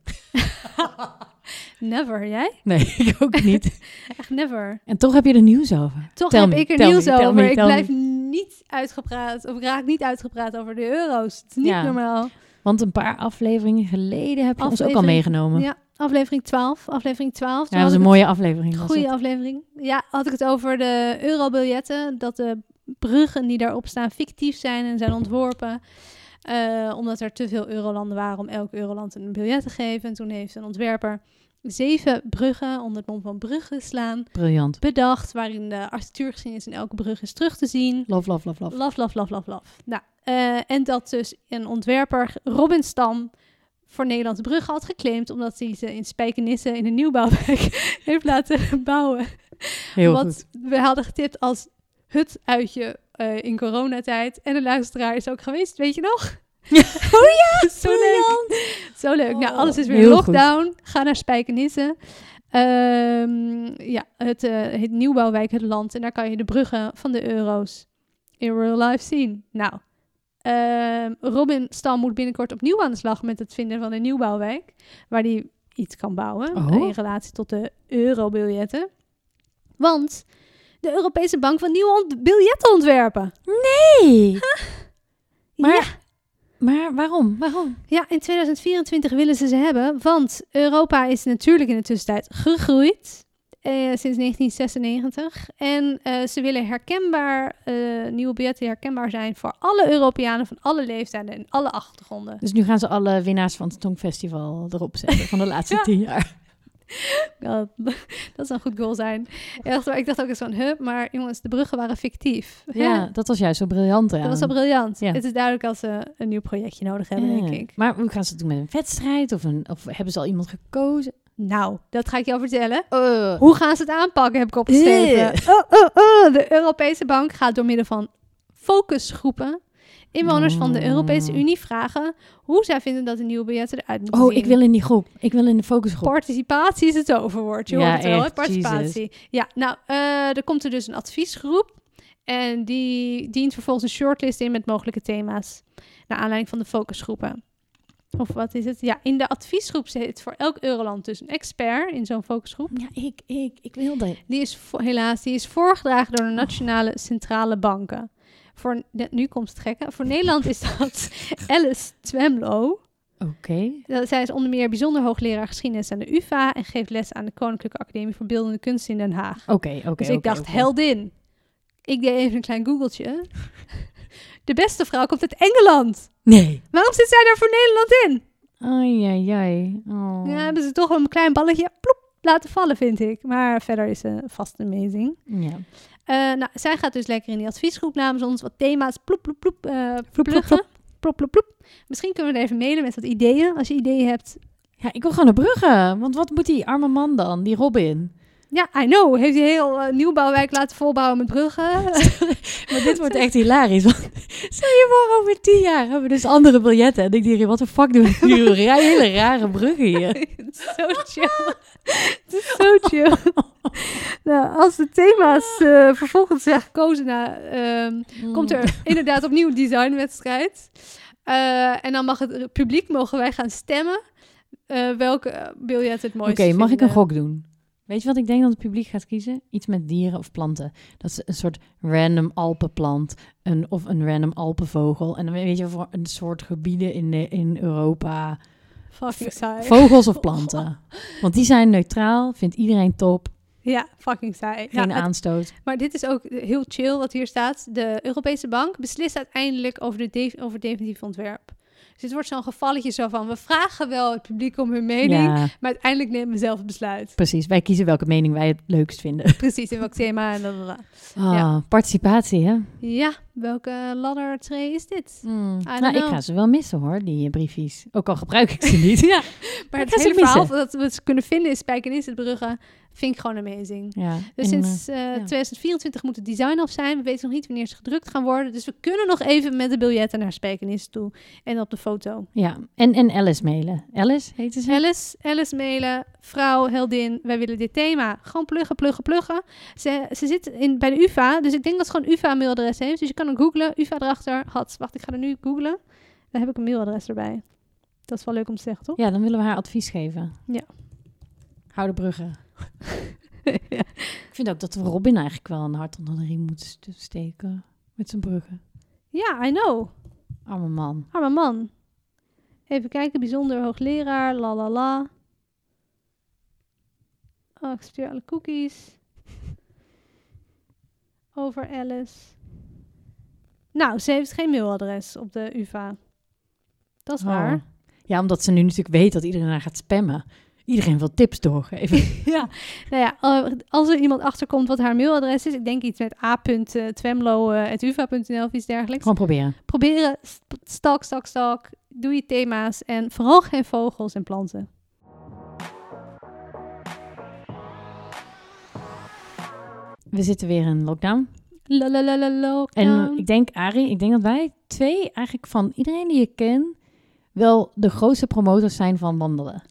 Speaker 3: Never, jij?
Speaker 2: Nee, ik ook niet.
Speaker 3: Echt never.
Speaker 2: En toch heb je er nieuws over.
Speaker 3: Toch
Speaker 2: Tell
Speaker 3: heb
Speaker 2: me,
Speaker 3: ik er
Speaker 2: tell
Speaker 3: nieuws
Speaker 2: me, tell
Speaker 3: over.
Speaker 2: me,
Speaker 3: ik
Speaker 2: tell
Speaker 3: blijf niet uitgepraat, of ik raak niet uitgepraat over de euro's. Het is niet
Speaker 2: Ja.
Speaker 3: normaal.
Speaker 2: Want een paar afleveringen geleden heb je ons ook al
Speaker 3: Aflevering-
Speaker 2: meegenomen. Ja,
Speaker 3: Ja, aflevering 12. Aflevering 12. Toen
Speaker 2: dat was
Speaker 3: had
Speaker 2: een
Speaker 3: ik
Speaker 2: mooie aflevering.
Speaker 3: het-
Speaker 2: was
Speaker 3: goede
Speaker 2: het.
Speaker 3: aflevering. Ja, had ik het over de eurobiljetten. Dat de bruggen die daarop staan fictief zijn en zijn ontworpen. eh, omdat er te veel eurolanden waren om elk euroland een biljet te geven. En toen heeft een ontwerper zeven bruggen onder het mond van bruggen slaan
Speaker 2: Briljant.
Speaker 3: bedacht. Waarin de architectuurgeschiedenis in elke brug is terug te zien.
Speaker 2: Love, love, love, love.
Speaker 3: Laf, laf, laf, laf, laf. Nou, eh, en dat dus een ontwerper, Robin Stam, voor Nederlandse bruggen had geclaimd. Omdat hij ze in Spijkenisse in een nieuwbouwwijk heeft laten bouwen.
Speaker 2: Heel
Speaker 3: Wat
Speaker 2: goed.
Speaker 3: we hadden getipt als het uitje eh, in coronatijd. En de luisteraar is ook geweest, weet je nog?
Speaker 2: Ja.
Speaker 3: Oh ja, zo leuk.
Speaker 2: briljant.
Speaker 3: Zo leuk. nou,
Speaker 2: Oh,
Speaker 3: alles is weer
Speaker 2: heel
Speaker 3: lockdown. Ga naar Spijkenisse. Ehm, ja, het eh, heet Nieuwbouwwijk Het Land. En daar kan je de bruggen van de euro's in real life zien. Nou, ehm, Robin Stam moet binnenkort opnieuw aan de slag met het vinden van een nieuwbouwwijk. Waar die iets kan bouwen
Speaker 2: Oh.
Speaker 3: eh, in relatie tot de eurobiljetten. Want de Europese Bank wil nieuwe ont- biljetten ontwerpen.
Speaker 2: Hey. Maar,
Speaker 3: Ja.
Speaker 2: maar waarom? Waarom?
Speaker 3: Ja, in 2024 willen ze ze hebben, want Europa is natuurlijk in de tussentijd gegroeid eh, sinds 1996. En eh, ze willen herkenbaar, eh, nieuwe biljetten herkenbaar zijn voor alle Europeanen van alle leeftijden en alle achtergronden.
Speaker 2: Dus nu gaan ze alle winnaars van het Songfestival erop zetten van de laatste
Speaker 3: Ja.
Speaker 2: tien jaar.
Speaker 3: Ja, dat zou een goed goal zijn. Ja, echt waar, ik dacht ook eens van, hup, maar jongens, de bruggen waren fictief. Hè?
Speaker 2: Ja, dat was juist zo briljant.
Speaker 3: Dat
Speaker 2: eraan.
Speaker 3: was al briljant.
Speaker 2: Ja.
Speaker 3: Het is duidelijk dat ze een nieuw projectje nodig hebben,
Speaker 2: Ja.
Speaker 3: denk ik.
Speaker 2: Maar hoe gaan ze het doen met een wedstrijd? Of, een, of hebben ze al iemand gekozen?
Speaker 3: Nou, dat ga ik jou vertellen.
Speaker 2: Eh,
Speaker 3: Hoe gaan ze het aanpakken, heb ik opgeschreven.
Speaker 2: Yeah.
Speaker 3: Oh, oh, oh. De Europese Bank gaat door middel van focusgroepen inwoners van de
Speaker 2: Oh.
Speaker 3: Europese Unie vragen hoe zij vinden dat de nieuwe biljetten eruit moeten
Speaker 2: oh,
Speaker 3: zien.
Speaker 2: ik wil in die groep. Ik wil in de focusgroep.
Speaker 3: Participatie is het overwoord. Je
Speaker 2: Ja,
Speaker 3: hoort het wel, hè?
Speaker 2: echt,
Speaker 3: participatie. Ja, nou, eh, er komt er dus een adviesgroep. En die dient vervolgens een shortlist in met mogelijke thema's. Naar aanleiding van de focusgroepen. Of wat is het? Ja, in de adviesgroep zit voor elk Euroland dus een expert in zo'n focusgroep.
Speaker 2: Ja, ik, ik, ik wil dat.
Speaker 3: Die is vo- helaas die is voorgedragen door de
Speaker 2: Oh.
Speaker 3: nationale centrale banken. Voor, ne- nu komt het gekke. Voor Nederland is dat Alice Twemlow.
Speaker 2: Oké.
Speaker 3: Dat- Zij is onder meer bijzonder hoogleraar geschiedenis aan de UvA en geeft les aan de Koninklijke Academie voor Beeldende Kunsten in Den Haag.
Speaker 2: Oké, oké.
Speaker 3: dus ik
Speaker 2: oké,
Speaker 3: dacht,
Speaker 2: oké.
Speaker 3: heldin. Ik deed even een klein googeltje. De beste vrouw komt uit Engeland.
Speaker 2: Nee.
Speaker 3: Waarom zit zij daar voor Nederland in?
Speaker 2: Ai, ai, ai. Oh.
Speaker 3: Ja, hebben ze toch wel een klein balletje ploep, laten vallen, vind ik. Maar verder is ze vast amazing.
Speaker 2: Ja.
Speaker 3: Eh, nou, zij gaat dus lekker in die adviesgroep namens ons wat thema's ploep, ploep, ploep, eh
Speaker 2: Ploep, ploep,
Speaker 3: pluggen. Plop, plop, plop. Misschien kunnen we er even mailen met wat ideeën. Als je ideeën hebt.
Speaker 2: ja, ik wil gewoon naar Brugge. Want wat moet die arme man dan, die Robin?
Speaker 3: Ja, I know. Heeft die heel eh, nieuwbouwwijk laten volbouwen met bruggen.
Speaker 2: Maar dit wordt echt hilarisch. Want stel je voor, over tien jaar hebben we dus andere biljetten. En ik denk, wat de fuck doen we hier? Rij- Hele rare bruggen hier.
Speaker 3: Het is zo chill. Het is zo chill. nou, als de thema's eh, vervolgens zijn gekozen, na, ehm,
Speaker 2: Mm.
Speaker 3: komt er inderdaad opnieuw een designwedstrijd. Eh en dan mag het publiek, mogen wij gaan stemmen eh, welke eh, biljet het
Speaker 2: Oké,
Speaker 3: mooiste
Speaker 2: mag ik een
Speaker 3: vinden.
Speaker 2: gok doen? Weet je wat ik denk dat het publiek gaat kiezen? Iets met dieren of planten. Dat is een soort random alpenplant een, of een random alpenvogel. En dan weet je voor een soort gebieden in, eh, in Europa.
Speaker 3: Fucking saai.
Speaker 2: Vogels of planten. Want die zijn neutraal, vindt iedereen top.
Speaker 3: ja, fucking saai. Ja,
Speaker 2: Geen
Speaker 3: het-
Speaker 2: aanstoot.
Speaker 3: maar dit is ook heel chill wat hier staat. De Europese Bank beslist uiteindelijk over, de de- over het definitief ontwerp. Dus dit wordt zo'n gevalletje zo van... we vragen wel het publiek om hun mening...
Speaker 2: Ja,
Speaker 3: maar uiteindelijk nemen we zelf het besluit.
Speaker 2: precies. Wij kiezen welke mening wij het leukst vinden.
Speaker 3: Precies, in welk thema en blablabla.
Speaker 2: Ah, Participatie, hè?
Speaker 3: Ja, welke ladder tray is dit? don't
Speaker 2: Nou, ik
Speaker 3: know.
Speaker 2: ga ze wel missen, hoor, die eh, briefjes. Ook al gebruik ik ze niet. ja.
Speaker 3: Maar
Speaker 2: Ik
Speaker 3: het
Speaker 2: ga ze
Speaker 3: hele
Speaker 2: missen.
Speaker 3: verhaal dat we ze kunnen vinden in Spijkenis, het Brugge, vind ik gewoon amazing.
Speaker 2: ja.
Speaker 3: Dus
Speaker 2: en, eh,
Speaker 3: sinds eh, 2024 moet het design af zijn. We weten nog niet wanneer ze gedrukt gaan worden. Dus we kunnen nog even met de biljetten naar Spijkenis toe. En op de foto.
Speaker 2: Ja, en, en Alice mailen. Alice heette ze?
Speaker 3: Alice, Alice mailen, vrouw, heldin, wij willen dit thema. Gewoon pluggen, pluggen, pluggen. Ze, ze zit in, bij de UvA, dus ik denk dat ze gewoon een UvA-mailadres heeft. Dus je kan hem googlen, UvA erachter. Had, wacht, ik ga er nu googlen. Dan heb ik een mailadres erbij. Dat is wel leuk om te zeggen, toch?
Speaker 2: Ja, dan willen we haar advies geven.
Speaker 3: Ja.
Speaker 2: Hou de bruggen. Ik vind ook dat we Robin eigenlijk wel een hart onder de riem moeten st- steken. Met zijn bruggen.
Speaker 3: Ja, I know.
Speaker 2: Arme man.
Speaker 3: Arme man. Even kijken, bijzonder hoogleraar, la la la. Oh, ik stuur alle cookies. Over Alice. Nou, ze heeft geen mailadres op de UvA. Dat is
Speaker 2: Oh.
Speaker 3: waar.
Speaker 2: Ja, omdat ze nu natuurlijk weet dat iedereen haar gaat spammen. Iedereen wil tips doorgeven.
Speaker 3: ja. Nou ja, eh, als er iemand achterkomt wat haar mailadres is, ik denk iets met eh, a.twemlo.uva.nl of iets dergelijks.
Speaker 2: Gewoon proberen.
Speaker 3: Proberen, st- stalk, stalk, stalk. Doe je thema's en vooral geen vogels en planten.
Speaker 2: We zitten weer in lockdown.
Speaker 3: La la la la
Speaker 2: En
Speaker 3: lockdown.
Speaker 2: ik denk, Arie, ik denk dat wij twee eigenlijk van iedereen die je kent... wel de grootste promotors zijn van wandelen.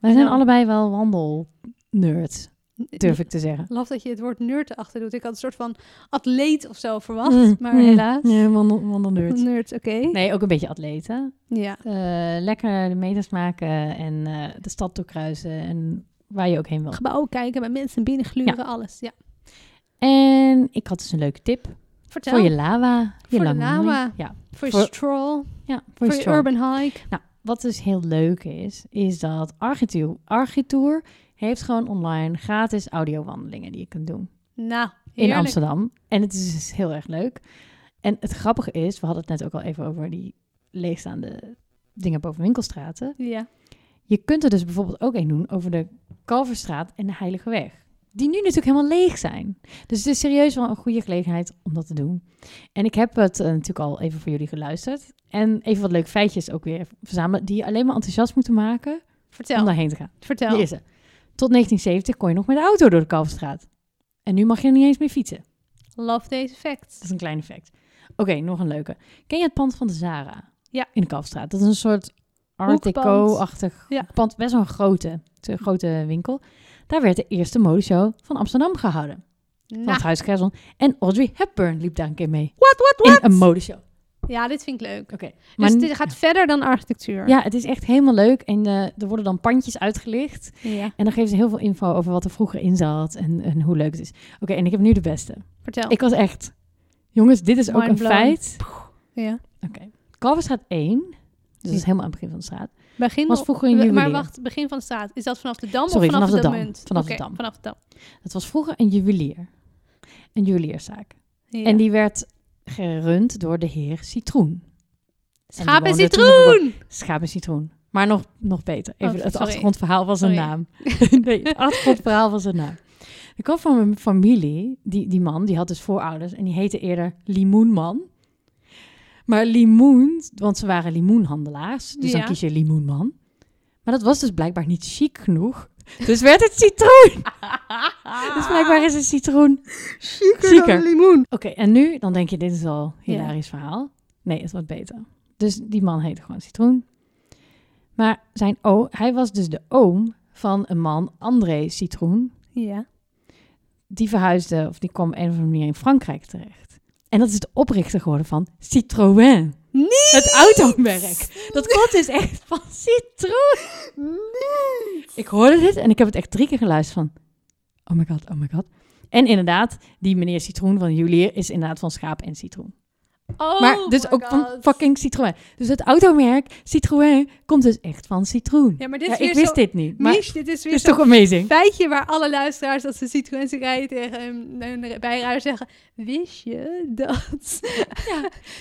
Speaker 2: Wij
Speaker 3: I
Speaker 2: zijn
Speaker 3: know.
Speaker 2: allebei wel wandelnerds, durf ik te zeggen.
Speaker 3: Laf dat je het woord nerd erachter doet. Ik had een soort van atleet of zo verwacht,
Speaker 2: Mm,
Speaker 3: maar
Speaker 2: mm,
Speaker 3: helaas.
Speaker 2: Nee, wandel, wandelnerds.
Speaker 3: Nerd, oké.
Speaker 2: Nee, ook een beetje atleten.
Speaker 3: Ja.
Speaker 2: Eh, lekker de meters maken en eh, de stad doorkruisen en waar je ook heen wil.
Speaker 3: Gebouwen kijken, bij mensen binnen gluren, alles. Ja.
Speaker 2: En ik had dus een leuke tip
Speaker 3: Vertel.
Speaker 2: voor je lava. Je
Speaker 3: Voor de
Speaker 2: lamoei.
Speaker 3: lava.
Speaker 2: Ja,
Speaker 3: Voor je
Speaker 2: voor-
Speaker 3: stroll,
Speaker 2: ja voor,
Speaker 3: voor
Speaker 2: je
Speaker 3: je
Speaker 2: stroll.
Speaker 3: urban hike.
Speaker 2: Wat dus heel leuk is, is dat Architour, Architour heeft gewoon online gratis audiowandelingen die je kunt doen.
Speaker 3: Nou,
Speaker 2: in
Speaker 3: heerlijk.
Speaker 2: Amsterdam. En het is dus heel erg leuk. En het grappige is, we hadden het net ook al even over die leegstaande dingen boven winkelstraten.
Speaker 3: Ja.
Speaker 2: Je kunt er dus bijvoorbeeld ook een doen over de Kalverstraat en de Heilige Weg. Die nu natuurlijk helemaal leeg zijn. Dus het is serieus wel een goede gelegenheid om dat te doen. En ik heb het eh, natuurlijk al even voor jullie geluisterd. En even wat leuke feitjes ook weer verzamelen. Die je alleen maar enthousiast moeten maken om
Speaker 3: Vertel,
Speaker 2: daarheen te gaan.
Speaker 3: vertel.
Speaker 2: Hier is ze. Tot 1970 kon je nog met de auto door de Kalverstraat. En nu mag je er niet eens meer fietsen.
Speaker 3: Love deze
Speaker 2: Dat
Speaker 3: facts.
Speaker 2: is een klein effect. Oké, nog een leuke. Ken je het pand van de Zara?
Speaker 3: Ja.
Speaker 2: In de Kalverstraat. Dat is een soort Art
Speaker 3: Hoekpand.
Speaker 2: Deco-achtig
Speaker 3: Ja.
Speaker 2: pand. Best wel een grote, een grote winkel. Daar werd de eerste modeshow van Amsterdam gehouden. Van
Speaker 3: Nou,
Speaker 2: het Huis Gerson. En Audrey Hepburn liep daar een keer mee.
Speaker 3: what, what, what?
Speaker 2: In een modeshow. Oké.
Speaker 3: Ja, dit vind ik leuk.
Speaker 2: Maar
Speaker 3: dus dit gaat verder dan architectuur.
Speaker 2: Ja, het is echt helemaal leuk. En eh, er worden dan pandjes uitgelicht.
Speaker 3: Ja.
Speaker 2: En dan geven ze heel veel info over wat er vroeger in zat en, en hoe leuk het is. Oké, en ik heb nu de beste.
Speaker 3: Vertel.
Speaker 2: Ik was echt... Jongens, dit is ook
Speaker 3: Mind
Speaker 2: een
Speaker 3: blown.
Speaker 2: feit.
Speaker 3: ja.
Speaker 2: Oké. Kalverstraat 1, dus dat is helemaal aan het begin van de straat,
Speaker 3: Begin
Speaker 2: was
Speaker 3: op-
Speaker 2: vroeger een juwelier.
Speaker 3: Maar wacht, begin van de straat. Is dat vanaf de Dam
Speaker 2: Sorry,
Speaker 3: of vanaf,
Speaker 2: vanaf de Dam.
Speaker 3: munt?
Speaker 2: Vanaf
Speaker 3: Oké,
Speaker 2: de Dam.
Speaker 3: Vanaf de Dam.
Speaker 2: Het was vroeger een juwelier. Een juwelierszaak.
Speaker 3: Ja.
Speaker 2: En die werd gerund door de heer Citroen.
Speaker 3: Schaap en
Speaker 2: woonde toen nog
Speaker 3: citroen!
Speaker 2: Schaap en citroen. Maar nog, nog beter. Even,
Speaker 3: Oh,
Speaker 2: het
Speaker 3: sorry.
Speaker 2: achtergrondverhaal was een
Speaker 3: Sorry.
Speaker 2: naam. nee, het achtergrondverhaal was een naam. Ik kwam van mijn familie, die, die man, die had dus voorouders en die heette eerder Limoenman. Maar limoen, want ze waren limoenhandelaars, dus
Speaker 3: Ja.
Speaker 2: dan kies je limoenman. Maar dat was dus blijkbaar niet chic genoeg. Dus werd het citroen. Dus blijkbaar is een citroen
Speaker 3: Chiquer
Speaker 2: dan Chiquer.
Speaker 3: limoen.
Speaker 2: Oké, en nu, dan denk je, dit is al een
Speaker 3: Ja.
Speaker 2: hilarisch verhaal. Nee, het wordt beter. Dus die man heette gewoon Citroen. Maar zijn o hij was dus de oom van een man, André Citroen.
Speaker 3: Ja.
Speaker 2: Die verhuisde, of die kwam op een of andere manier in Frankrijk terecht. En dat is de oprichter geworden van Citroën.
Speaker 3: Niet!
Speaker 2: Het automerk. Dat komt dus echt van Citroën. Ik hoorde dit en ik heb het echt drie keer geluisterd van... Oh my god, oh my god. En inderdaad, die meneer Citroen van Julier is inderdaad van schaap en citroen.
Speaker 3: Oh
Speaker 2: Maar dus
Speaker 3: my
Speaker 2: ook van
Speaker 3: God.
Speaker 2: fucking Citroën. Dus het automerk Citroën komt dus echt van citroen.
Speaker 3: Ja, maar dit
Speaker 2: Ja,
Speaker 3: is weer
Speaker 2: ik wist
Speaker 3: zo...
Speaker 2: dit niet. Maar Dus het
Speaker 3: Mich, dit is weer
Speaker 2: is
Speaker 3: zo'n
Speaker 2: toch amazing?
Speaker 3: feitje waar alle luisteraars dat ze citroën ze rijden tegen hun, hun bijrijder zeggen... Wist je dat?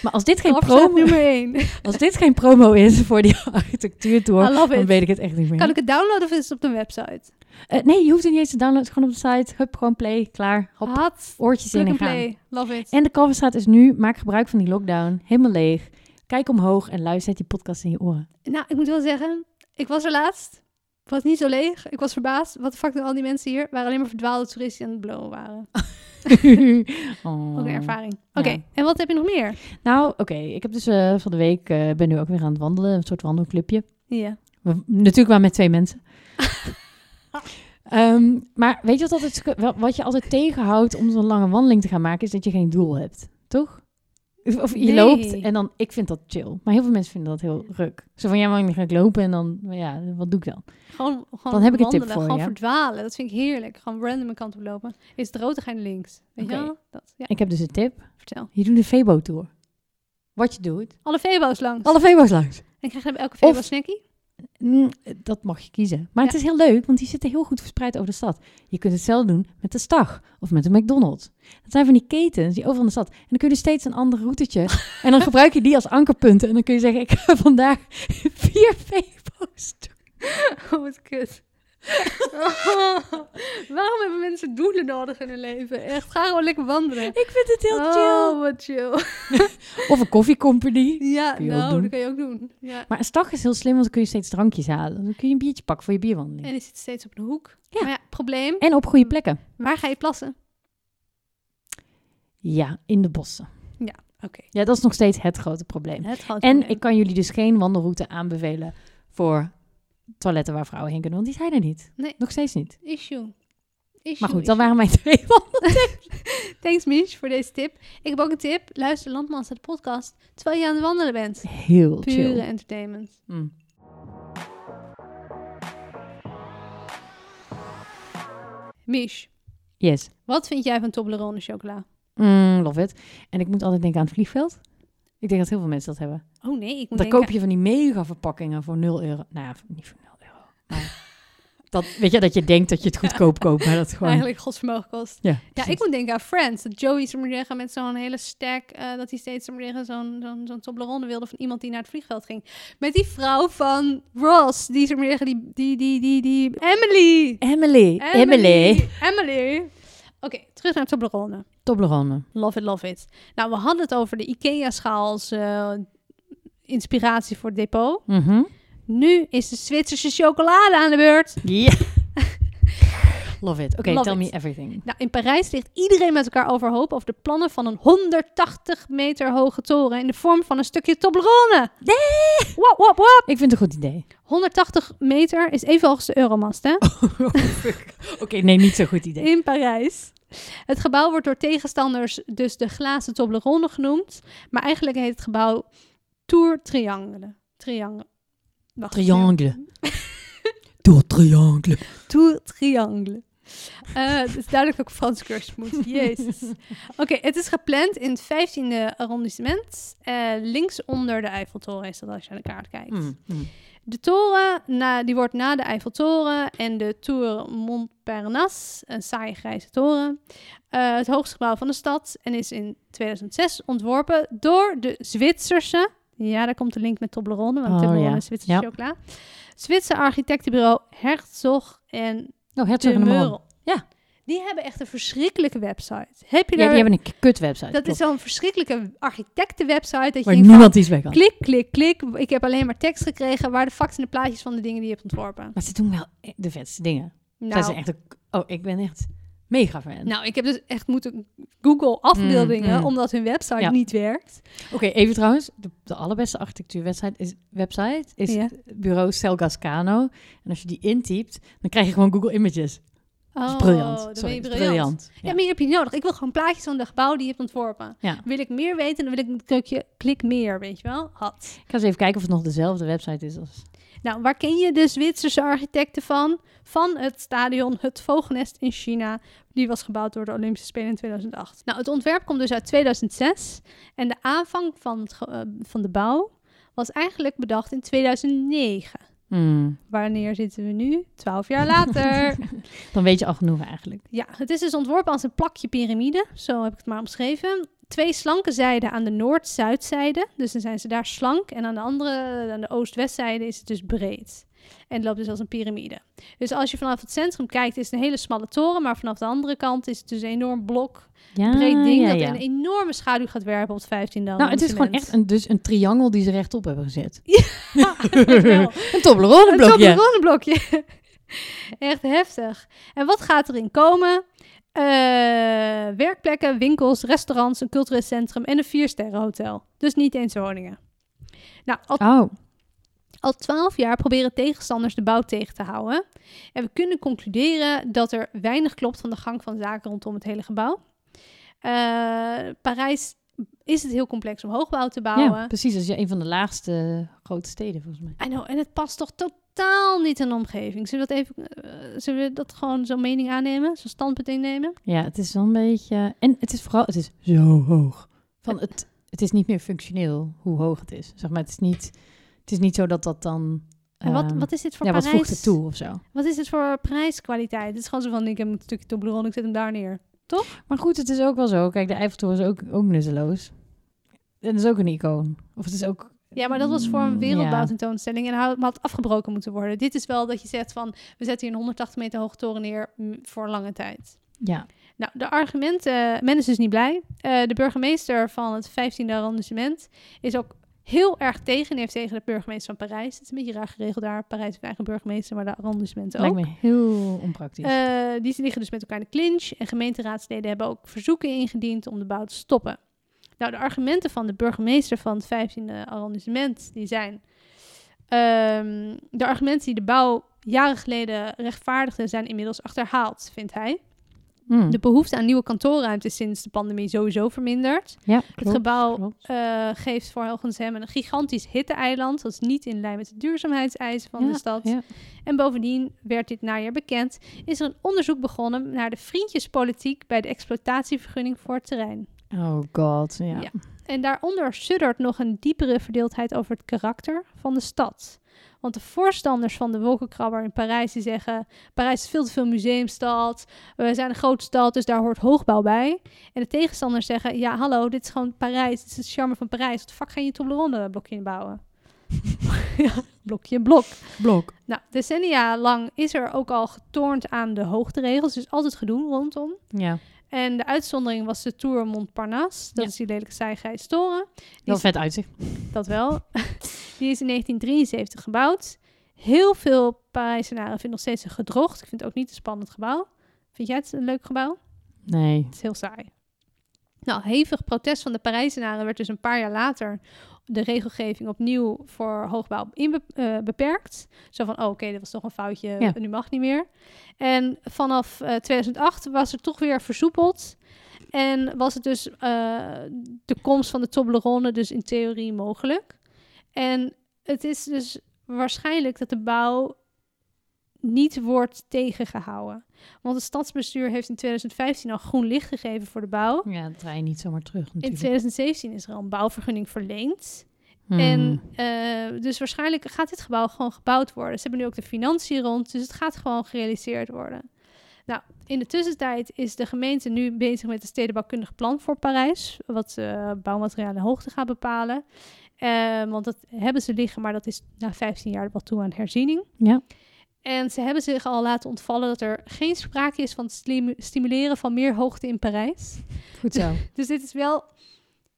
Speaker 2: Maar als dit geen,
Speaker 3: Afzet
Speaker 2: promo,
Speaker 3: nummer 1.
Speaker 2: als dit geen promo is voor die architectuurtour,
Speaker 3: I love
Speaker 2: dan
Speaker 3: it.
Speaker 2: weet ik het echt niet meer.
Speaker 3: Kan ik het downloaden of is het op de website?
Speaker 2: Eh, nee, je hoeft het niet eens te downloaden. Gewoon op de site. Hup, gewoon play. Klaar. Hop,
Speaker 3: Had.
Speaker 2: oortjes in
Speaker 3: Ah, Plug
Speaker 2: en
Speaker 3: and
Speaker 2: gaan.
Speaker 3: play. Love it.
Speaker 2: En de Kalverstraat is nu. Maak gebruik van die lockdown. Helemaal leeg. Kijk omhoog en luister zet die podcast in je oren.
Speaker 3: Nou, ik moet wel zeggen, ik was er laatst. Was niet zo leeg. Ik was verbaasd. Wat de fuck doen al die mensen hier? Waren alleen maar verdwaalde toeristen die aan het blowen waren.
Speaker 2: oh.
Speaker 3: Ook een ervaring. Oké,
Speaker 2: Ja.
Speaker 3: en wat heb je nog meer?
Speaker 2: Nou, oké. Ik heb dus eh, van de week, eh, ben nu ook weer aan het wandelen, een soort wandelclubje.
Speaker 3: Ja.
Speaker 2: We- Natuurlijk wel met twee mensen. Ehm, maar weet je wat, altijd, scu- wel- wat je altijd tegenhoudt om zo'n lange wandeling te gaan maken, is dat je geen doel hebt, toch? Of- Of je
Speaker 3: Nee.
Speaker 2: loopt en dan, ik vind dat chill. Maar heel veel mensen vinden dat heel ruk. Zo van, ja, maar dan ga ik lopen en dan, maar ja, wat doe ik dan?
Speaker 3: Gewoon, gewoon
Speaker 2: Dan heb ik een tip
Speaker 3: wandelen,
Speaker 2: voor
Speaker 3: Gewoon
Speaker 2: je.
Speaker 3: verdwalen. Dat vind ik heerlijk. Gewoon random een kant op lopen. Is het rood, dan ga je naar links. Weet je
Speaker 2: Oké.
Speaker 3: wel? Dat, ja,
Speaker 2: Ik heb dus een tip.
Speaker 3: vertel.
Speaker 2: Je doet een Febo-tour. Wat je doet.
Speaker 3: Alle Febo's langs.
Speaker 2: Alle Febo's langs.
Speaker 3: En krijg je bij elke Febo
Speaker 2: Oh. Of-
Speaker 3: snackie?
Speaker 2: Mm, dat mag je kiezen. Maar het is heel leuk, want die zitten heel goed verspreid over de stad. Je kunt hetzelfde doen met de Stag of met de McDonald's. Dat zijn van die ketens die overal in de stad. En dan kun je dus steeds een ander routetje. en dan gebruik je die als ankerpunten. En dan kun je zeggen, ik ga vandaag vier Febo's doen.
Speaker 3: Oh, wat kut. Waarom hebben mensen doelen nodig in hun leven? Echt, ga gewoon lekker wandelen.
Speaker 2: Ik vind het heel
Speaker 3: Oh, wat chill.
Speaker 2: chill. Of een koffiecompany.
Speaker 3: Ja,
Speaker 2: Kun je ook
Speaker 3: nou,
Speaker 2: doen.
Speaker 3: dat kan je ook doen. Ja.
Speaker 2: Maar een Stag is heel slim, want dan kun je steeds drankjes halen. Dan kun je een biertje pakken voor je bierwandeling.
Speaker 3: En
Speaker 2: En,
Speaker 3: die zit steeds op de hoek.
Speaker 2: Ja.
Speaker 3: Maar ja, probleem.
Speaker 2: op goede plekken.
Speaker 3: Waar ga je plassen?
Speaker 2: Ja, in de bossen.
Speaker 3: Oké.
Speaker 2: Ja, dat is nog steeds het grote probleem.
Speaker 3: Het grote
Speaker 2: En
Speaker 3: probleem.
Speaker 2: ik kan jullie dus geen wandelroute aanbevelen voor toiletten waar vrouwen heen kunnen, want die zijn er niet.
Speaker 3: Nee.
Speaker 2: Nog steeds niet.
Speaker 3: Issue. Issue.
Speaker 2: Maar goed,
Speaker 3: issue.
Speaker 2: dat waren mijn twee wandelen.
Speaker 3: Thanks, Mich, voor deze tip. Ik heb ook een tip. Luister Landmans de podcast terwijl je aan het wandelen bent.
Speaker 2: Heel
Speaker 3: Pure
Speaker 2: chill.
Speaker 3: entertainment.
Speaker 2: Mm.
Speaker 3: Mich,
Speaker 2: Yes.
Speaker 3: wat vind jij van Toblerone chocola?
Speaker 2: Mm, love it. En ik moet altijd denken aan het vliegveld. Ik denk dat heel veel mensen dat hebben.
Speaker 3: Oh nee, ik moet
Speaker 2: Dan
Speaker 3: denken-
Speaker 2: koop je van die mega verpakkingen voor 0 euro. Nou ja, niet voor 0 euro. Maar dat, weet je, dat je denkt dat je het goedkoop koopt, maar dat is gewoon...
Speaker 3: Eigenlijk godsvermogen kost.
Speaker 2: Ja,
Speaker 3: Ja,
Speaker 2: precies.
Speaker 3: ik moet denken aan Friends. Dat Joey zo maar zeggen, met zo'n hele stack... eh, dat hij steeds zo maar zeggen, zo'n zo'n zo'n Toblerone wilde van iemand die naar het vliegveld ging. Met die vrouw van Ross. Die zo maar zeggen, die, die, die, die, die... Emily!
Speaker 2: Emily. Emily.
Speaker 3: Emily. Oké, terug naar Toblerone.
Speaker 2: Toblerone.
Speaker 3: Love it, love it. Nou, we hadden het over de IKEA-schaal als eh, inspiratie voor het depot.
Speaker 2: Mhm.
Speaker 3: Nu is de Zwitserse chocolade aan de beurt.
Speaker 2: Ja. Love it. Oké,
Speaker 3: Love
Speaker 2: tell
Speaker 3: it.
Speaker 2: me everything.
Speaker 3: Nou, in Parijs ligt iedereen met elkaar overhoop over de plannen van een 180 meter hoge toren in de vorm van een stukje Toblerone. Nee! Wap, wap, wap.
Speaker 2: Ik vind het een goed idee.
Speaker 3: 180 meter is even hoog als de Euromast, hè?
Speaker 2: Oké, nee, niet zo'n goed idee.
Speaker 3: In Parijs. Het gebouw wordt door tegenstanders dus de glazen Toblerone genoemd. Maar eigenlijk heet het gebouw Tour Triangle. Triangle. Wacht,
Speaker 2: Triangle. Door triangle.
Speaker 3: Tour Triangle. Eh, het is duidelijk dat ik Frans cursus moet. Jezus. Oké, het is gepland in het 15e arrondissement. Eh, links onder de Eiffeltoren is dat als je naar de kaart kijkt.
Speaker 2: Mm, mm.
Speaker 3: De toren, na, die wordt na de Eiffeltoren en de Tour Montparnasse, een saaie grijze toren, eh, het hoogste gebouw van de stad en is in 2006 ontworpen door de Zwitserse, ja, daar komt de link met Toblerone, want
Speaker 2: Oh,
Speaker 3: Toblerone
Speaker 2: ja.
Speaker 3: is Zwitserse
Speaker 2: Ja.
Speaker 3: chocola. Zwitser architectenbureau Herzog en
Speaker 2: Oh, Hertog
Speaker 3: de
Speaker 2: en de Mol.
Speaker 3: Meurel.
Speaker 2: Ja.
Speaker 3: Die hebben echt een verschrikkelijke website. Heb je
Speaker 2: Ja,
Speaker 3: daar...
Speaker 2: die hebben een kut website.
Speaker 3: dat is zo'n verschrikkelijke architectenwebsite dat je
Speaker 2: waar
Speaker 3: denkt van,
Speaker 2: niemand iets bij kan.
Speaker 3: Klik, klik, klik. Ik heb alleen maar tekst gekregen waar de facts en de plaatjes van de dingen die je hebt ontworpen.
Speaker 2: Maar ze doen wel e- de vetste dingen. Zij zijn
Speaker 3: Nou,
Speaker 2: echt een, oh, ik ben echt mega fan.
Speaker 3: nou, ik heb dus echt moeten Google afbeeldingen,
Speaker 2: Mm, mm.
Speaker 3: omdat hun website
Speaker 2: Ja.
Speaker 3: niet werkt.
Speaker 2: Oké, even trouwens. De, de allerbeste architectuurwebsite is, website is
Speaker 3: Ja.
Speaker 2: bureau Selgascano. En als je die intypt, dan krijg je gewoon Google Images.
Speaker 3: Oh,
Speaker 2: Dat is briljant.
Speaker 3: dan ben
Speaker 2: Sorry,
Speaker 3: je
Speaker 2: dat is
Speaker 3: briljant. Ja.
Speaker 2: Ja.
Speaker 3: maar die heb je niet nodig. Ik wil gewoon plaatjes van de gebouwen die je hebt ontworpen.
Speaker 2: Ja.
Speaker 3: Wil ik meer weten, dan wil ik een knopje klik meer, weet je wel. Had.
Speaker 2: Ik ga eens even kijken of het nog dezelfde website is als...
Speaker 3: Nou, waar ken je de Zwitserse architecten van? Van het stadion Het Vogelnest in China. Die was gebouwd door de Olympische Spelen in 2008. Nou, het ontwerp komt dus uit 2006. En de aanvang van, het ge- eh, van de bouw was eigenlijk bedacht in 2009.
Speaker 2: Hmm,
Speaker 3: Wanneer zitten we nu? 12 jaar later.
Speaker 2: Dan weet je al genoeg eigenlijk.
Speaker 3: Ja, het is dus ontworpen als een plakje piramide. Zo heb ik het maar omschreven. Twee slanke zijden aan de noord-zuidzijde. Dus dan zijn ze daar slank. En aan de andere, aan de oost-westzijde, is het dus breed. En het loopt dus als een piramide. Dus als je vanaf het centrum kijkt, is het een hele smalle toren. Maar vanaf de andere kant is het dus een enorm blok.
Speaker 2: Ja,
Speaker 3: breed ding
Speaker 2: Ah, ja,
Speaker 3: dat
Speaker 2: ja.
Speaker 3: een enorme schaduw gaat werpen op het 15e.
Speaker 2: Nou, het is gewoon echt een, dus een triangel die ze rechtop hebben gezet. Een
Speaker 3: Een
Speaker 2: Toblerone-blokje.
Speaker 3: Toblerone-blokje. Echt heftig. En wat gaat erin komen? Eh, werkplekken, winkels, restaurants, een cultureel centrum en een viersterrenhotel. Dus niet eens woningen. Nou, al,
Speaker 2: Oh,
Speaker 3: al twaalf jaar proberen tegenstanders de bouw tegen te houden. En we kunnen concluderen dat er weinig klopt van de gang van zaken rondom het hele gebouw. Eh, Parijs is het heel complex om hoogbouw te bouwen.
Speaker 2: ja, precies. Dat is ja een van de laagste eh, grote steden volgens mij.
Speaker 3: I know, en het past toch totaal niet in de omgeving. Zullen we dat even, eh, zullen we dat gewoon zo'n mening aannemen, zo'n standpunt innemen?
Speaker 2: Ja, het is wel een beetje. En het is vooral, het is zo hoog. Van het, het is niet meer functioneel hoe hoog het is. Zeg maar, het is niet, het is niet zo dat dat dan.
Speaker 3: En wat,
Speaker 2: ehm,
Speaker 3: wat is dit voor
Speaker 2: ja, wat
Speaker 3: Parijs?
Speaker 2: voegt het toe of zo?
Speaker 3: Wat is dit voor prijskwaliteit? Het is gewoon zo van, ik heb een stukje Toblerone, ik zet hem daar neer.
Speaker 2: Maar goed, het is ook wel zo. Kijk, de Eiffeltoren is ook, ook nutteloos. En het is ook een icoon. Of het is ook.
Speaker 3: Ja, maar dat was voor
Speaker 2: Mm,
Speaker 3: een
Speaker 2: ja.
Speaker 3: wereldbouwtentoonstelling en had, had afgebroken moeten worden. Dit is wel dat je zegt van, we zetten hier een 180 meter hoge toren neer mm, voor lange tijd.
Speaker 2: Ja.
Speaker 3: Nou, de argumenten, men is dus niet blij. Eh, de burgemeester van het 15e arrondissement is ook heel erg tegen en heeft tegen de burgemeester van Parijs. Het is een beetje raar geregeld daar. Parijs heeft een eigen burgemeester, maar de arrondissementen ook.
Speaker 2: Lijkt me heel onpraktisch.
Speaker 3: Eh, die liggen dus met elkaar in de clinch. En gemeenteraadsleden hebben ook verzoeken ingediend om de bouw te stoppen. Nou, de argumenten van de burgemeester van het 15e arrondissement, die zijn... ehm, de argumenten die de bouw jaren geleden rechtvaardigden, zijn inmiddels achterhaald, vindt hij.
Speaker 2: Hmm.
Speaker 3: De behoefte aan nieuwe kantoorruimte is sinds de pandemie sowieso verminderd.
Speaker 2: ja, klopt,
Speaker 3: het gebouw
Speaker 2: klopt.
Speaker 3: eh, geeft volgens hem een gigantisch hitteeiland. Dat is niet in lijn met de duurzaamheidseisen van
Speaker 2: Ja,
Speaker 3: de stad.
Speaker 2: ja.
Speaker 3: En bovendien werd dit najaar bekend. Is er een onderzoek begonnen naar de vriendjespolitiek bij de exploitatievergunning voor het terrein.
Speaker 2: Oh god, ja.
Speaker 3: Ja. En daaronder suddert nog een diepere verdeeldheid over het karakter van de stad. Want de voorstanders van de wolkenkrabber in Parijs die zeggen... Parijs is veel te veel museumstad, we zijn een grote stad, dus daar hoort hoogbouw bij. En de tegenstanders zeggen, ja hallo, dit is gewoon Parijs, dit is het charme van Parijs. Wat de fuck ga je een Toblerone blokje bouwen? ja, blokje in blok.
Speaker 2: Blok.
Speaker 3: Nou, decennia lang is er ook al getornd aan de hoogteregels, dus altijd gedoe rondom.
Speaker 2: Ja.
Speaker 3: En de uitzondering was de Tour Montparnasse. Dat
Speaker 2: Ja.
Speaker 3: is die lelijke zijgrijze toren.
Speaker 2: Wel vet uitzicht.
Speaker 3: Dat wel. Die is in 1973 gebouwd. Heel veel Parijzenaren vinden nog steeds een gedrocht. Ik vind het ook niet een spannend gebouw. Vind jij het een leuk gebouw?
Speaker 2: Nee.
Speaker 3: Het is heel saai. Nou, hevig protest van de Parijzenaren werd dus een paar jaar later de regelgeving opnieuw voor hoogbouw inbe- eh, beperkt. Zo van, oh, oké, dat was toch een foutje,
Speaker 2: Ja.
Speaker 3: nu mag niet meer. En vanaf eh, 2008 was het toch weer versoepeld. En was het dus eh, de komst van de Toblerone dus in theorie mogelijk. En het is dus waarschijnlijk dat de bouw niet wordt tegengehouden. Want het stadsbestuur heeft in 2015 al groen licht gegeven voor de bouw.
Speaker 2: Ja, dat draai je niet zomaar terug
Speaker 3: In
Speaker 2: natuurlijk.
Speaker 3: 2017 is er al een bouwvergunning verleend.
Speaker 2: Hmm.
Speaker 3: En eh, dus waarschijnlijk gaat dit gebouw gewoon gebouwd worden. Ze hebben nu ook de financiën rond, dus het gaat gewoon gerealiseerd worden. Nou, in de tussentijd is de gemeente nu bezig met het stedenbouwkundig plan voor Parijs, wat eh bouwmaterialen en hoogte gaat bepalen. Eh, want dat hebben ze liggen, maar dat is na 15 jaar wel toe aan herziening.
Speaker 2: Ja.
Speaker 3: En ze hebben zich al laten ontvallen dat er geen sprake is van het slim- stimuleren van meer hoogte in Parijs.
Speaker 2: Goed zo.
Speaker 3: Dus dit is wel,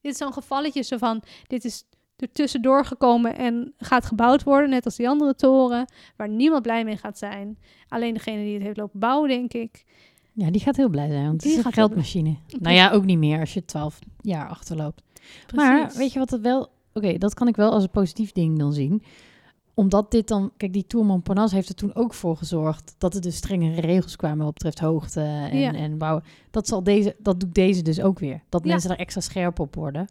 Speaker 3: dit is zo'n gevalletje zo van, dit is er tussendoor gekomen en gaat gebouwd worden, net als die andere toren, waar niemand blij mee gaat zijn. Alleen degene die het heeft lopen bouwen, denk ik.
Speaker 2: Ja, die gaat heel blij zijn, want het
Speaker 3: Die
Speaker 2: is een
Speaker 3: gaat heel
Speaker 2: geldmachine. Nou ja, ook niet meer als je 12 jaar achterloopt. Maar weet je wat het wel... Oké, dat kan ik wel als een positief ding dan zien. Omdat dit dan... Kijk, die Tour Montparnasse heeft er toen ook voor gezorgd... dat er dus strengere regels kwamen wat betreft hoogte en,
Speaker 3: Ja.
Speaker 2: en bouwen. Dat, zal deze, dat doet deze dus ook weer. Dat
Speaker 3: Ja.
Speaker 2: mensen daar extra scherp op worden.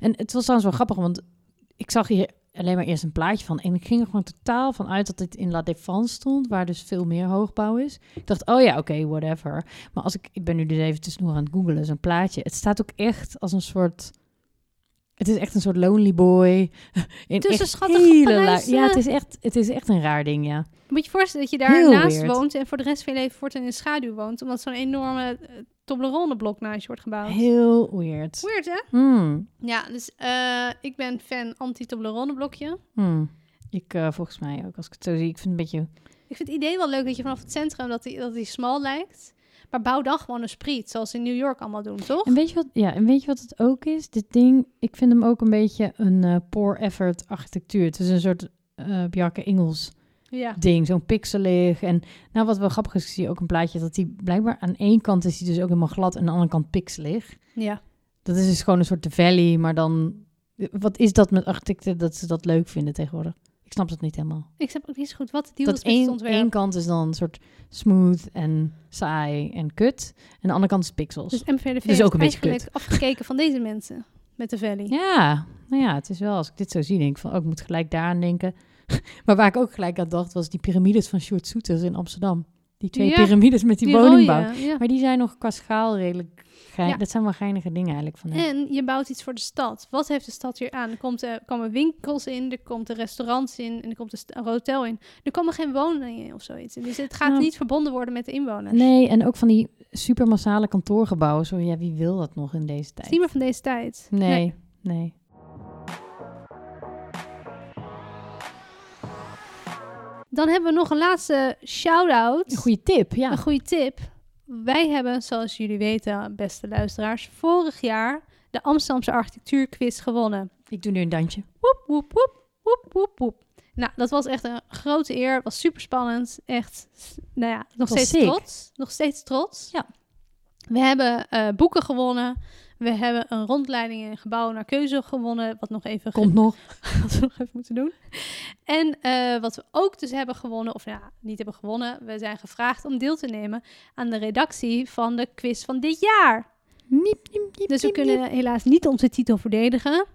Speaker 2: En het was trouwens wel grappig, want ik zag hier alleen maar eerst een plaatje van... en ik ging er gewoon totaal van uit dat dit in La Défense stond... waar dus veel meer hoogbouw is. Ik dacht, oh ja, oké, whatever. Maar als ik... Ik ben nu dus even tussendoor aan het googelen, zo'n plaatje. Het staat ook echt als een soort... Het is echt een soort lonely boy. In
Speaker 3: Tussen
Speaker 2: echt
Speaker 3: schattige
Speaker 2: la-
Speaker 3: paleizen.
Speaker 2: Ja, het is, echt, het is echt een raar ding, ja.
Speaker 3: Moet je voorstellen dat je
Speaker 2: Heel
Speaker 3: daarnaast
Speaker 2: weird.
Speaker 3: woont en voor de rest van je leven voortaan in de schaduw woont, omdat zo'n enorme eh, Toblerone-blok naast je wordt gebouwd.
Speaker 2: Heel weird.
Speaker 3: Weird, hè?
Speaker 2: Hmm,
Speaker 3: Ja, dus eh, ik ben fan anti-Toblerone-blokje.
Speaker 2: hmm. Ik eh, volgens mij ook, als ik het zo zie. Ik vind het een beetje...
Speaker 3: Ik vind het idee wel leuk dat je vanaf het centrum dat die, dat die smal lijkt. Maar bouw dan gewoon een spriet, zoals ze in New York allemaal doen, toch?
Speaker 2: En weet, je wat, ja, en weet je wat het ook is? Dit ding, ik vind hem ook een beetje een eh, poor effort architectuur. Het is een soort eh Bjarke Ingels
Speaker 3: Ja.
Speaker 2: ding, zo'n pixelig. En nou, wat wel grappig is, ik zie ook een plaatje dat die blijkbaar aan één kant is die dus ook helemaal glad en aan de andere kant pixelig.
Speaker 3: Ja.
Speaker 2: Dat is dus gewoon een soort de valley, maar dan... Wat is dat met architecten dat ze dat leuk vinden tegenwoordig? Ik snap dat niet helemaal.
Speaker 3: Ik snap ook niet zo goed wat het deal
Speaker 2: dat
Speaker 3: is met het
Speaker 2: één,
Speaker 3: ontwerp.
Speaker 2: één kant is dan een soort smooth en saai en kut. En de andere kant is pixels.
Speaker 3: Dus MVDV
Speaker 2: Dus ook een
Speaker 3: heeft
Speaker 2: beetje
Speaker 3: eigenlijk afgekeken van deze mensen met de Valley.
Speaker 2: Ja, nou ja, het is wel, als ik dit zo zie, denk ik van, oh, ik moet gelijk daaraan denken. maar waar ik ook gelijk aan dacht, was die piramides van Sjoerd Soeters in Amsterdam. Die twee
Speaker 3: Ja,
Speaker 2: piramides met die,
Speaker 3: rode,
Speaker 2: woningbouw.
Speaker 3: ja.
Speaker 2: Maar die zijn nog qua schaal redelijk... Gein,
Speaker 3: Ja.
Speaker 2: Dat zijn wel geinige dingen eigenlijk van hem.
Speaker 3: En je bouwt iets voor de stad. Wat heeft de stad hier aan? Er komt, eh, komen winkels in, er komt een restaurants in, en er komt een st- een hotel in. Er komen geen woningen in of zoiets. in. Dus het gaat
Speaker 2: Nou,
Speaker 3: niet verbonden worden met de inwoners.
Speaker 2: Nee, en ook van die supermassale kantoorgebouwen. Zo, ja, wie wil dat nog in deze
Speaker 3: Het
Speaker 2: tijd?
Speaker 3: is niet meer van deze tijd.
Speaker 2: Nee, nee.
Speaker 3: Dan hebben we nog een laatste shout-out.
Speaker 2: Een goede tip, ja.
Speaker 3: Een goede tip. Wij hebben, zoals jullie weten, beste luisteraars, vorig jaar de Amsterdamse architectuurquiz gewonnen.
Speaker 2: Ik doe nu een dansje.
Speaker 3: Woep, woep, woep, woep, woep, woep. Nou, dat was echt een grote eer. Het was super spannend. Echt, nou ja, nog
Speaker 2: was
Speaker 3: steeds
Speaker 2: sick.
Speaker 3: trots. Nog steeds trots.
Speaker 2: Ja.
Speaker 3: We hebben eh, boeken gewonnen. We hebben een rondleiding in gebouwen naar keuze gewonnen. Wat nog even
Speaker 2: Komt nog.
Speaker 3: wat we nog even moeten doen. En eh, wat we ook dus hebben gewonnen, of nou ja, niet hebben gewonnen, we zijn gevraagd om deel te nemen aan de redactie van de quiz van dit jaar.
Speaker 2: Niep, niep, niep,
Speaker 3: Dus we
Speaker 2: niep, niep.
Speaker 3: kunnen helaas niet onze titel verdedigen.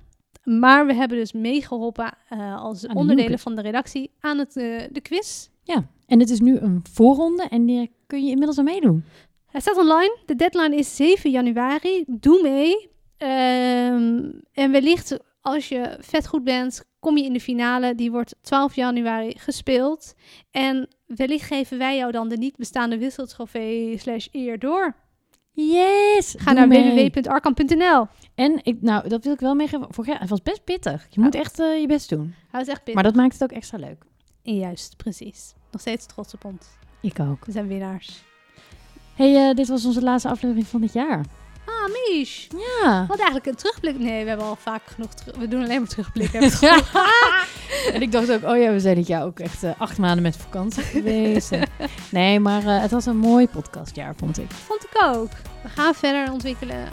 Speaker 3: Maar we hebben dus meegeholpen eh, als
Speaker 2: nieuwe
Speaker 3: onderdelen
Speaker 2: quiz.
Speaker 3: van de redactie aan het, eh, de quiz.
Speaker 2: Ja, en het is nu een voorronde en die kun je inmiddels aan meedoen.
Speaker 3: Hij staat online. De deadline is 7 januari. Doe mee. Ehm, en wellicht als je vet goed bent, kom je in de finale. Die wordt 12 januari gespeeld. En wellicht geven wij jou dan de niet bestaande wisseltrofee slash eer door.
Speaker 2: Yes!
Speaker 3: Ga
Speaker 2: doe
Speaker 3: naar
Speaker 2: mee.
Speaker 3: www.arkan.nl.
Speaker 2: En ik, nou, dat wil ik wel meegeven. Vorig jaar, het was best pittig. Je moet echt eh, je best doen.
Speaker 3: Hou het echt
Speaker 2: Maar
Speaker 3: binnen.
Speaker 2: dat maakt het ook extra leuk.
Speaker 3: Juist, precies. Nog steeds trots op ons.
Speaker 2: Ik ook.
Speaker 3: We zijn winnaars.
Speaker 2: Hey, eh, dit was onze laatste aflevering van dit jaar.
Speaker 3: Ah, Amish.
Speaker 2: Ja.
Speaker 3: Wat eigenlijk een terugblik. Nee, we hebben al vaak genoeg terug. We doen alleen maar terugblikken. heb ik het
Speaker 2: Ja.
Speaker 3: gevoel. Ah,
Speaker 2: en ik dacht ook, oh ja, we zijn dit jaar ook echt eh, acht maanden met vakantie geweest. En- nee, maar eh, het was een mooi podcastjaar, vond ik.
Speaker 3: Vond ik ook. We gaan verder ontwikkelen. Eh,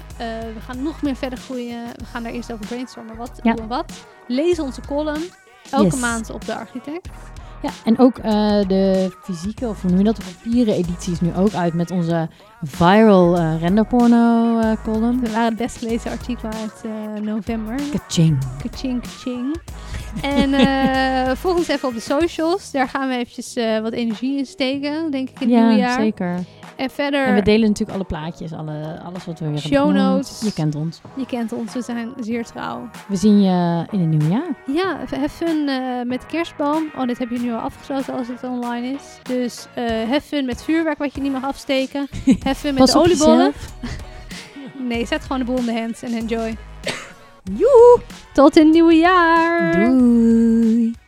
Speaker 3: we gaan nog meer verder groeien. We gaan daar eerst over brainstormen. Wat,
Speaker 2: Ja.
Speaker 3: hoe en wat. Lees onze column. Elke
Speaker 2: Yes.
Speaker 3: maand op de architect.
Speaker 2: Ja, en ook eh, de fysieke, of hoe noem je dat, de papieren editie is nu ook uit met onze viral eh, renderporno eh, column.
Speaker 3: We waren het best gelezen artikel uit eh, november.
Speaker 2: Kaching.
Speaker 3: Kaching, kaching. En eh volg ons even op de socials. Daar gaan we eventjes eh, wat energie in steken, denk ik, in het
Speaker 2: Ja,
Speaker 3: nieuwe jaar.
Speaker 2: zeker.
Speaker 3: En verder,
Speaker 2: En we delen natuurlijk alle plaatjes, alle, alles wat we weer hebben
Speaker 3: Show
Speaker 2: genoemd.
Speaker 3: notes.
Speaker 2: Je kent ons.
Speaker 3: je kent ons, we zijn zeer trouw.
Speaker 2: We zien je in het nieuwe jaar.
Speaker 3: Ja, have fun eh, met de kerstboom. Oh, dit heb je nu al afgesloten als het online is. Dus eh have fun met vuurwerk wat je niet mag afsteken. Have fun met
Speaker 2: Pas
Speaker 3: de
Speaker 2: op
Speaker 3: oliebollen.
Speaker 2: jezelf.
Speaker 3: Nee, zet gewoon de boel in de hands en enjoy.
Speaker 2: Joehoe.
Speaker 3: Tot in het nieuwe jaar!
Speaker 2: Doei.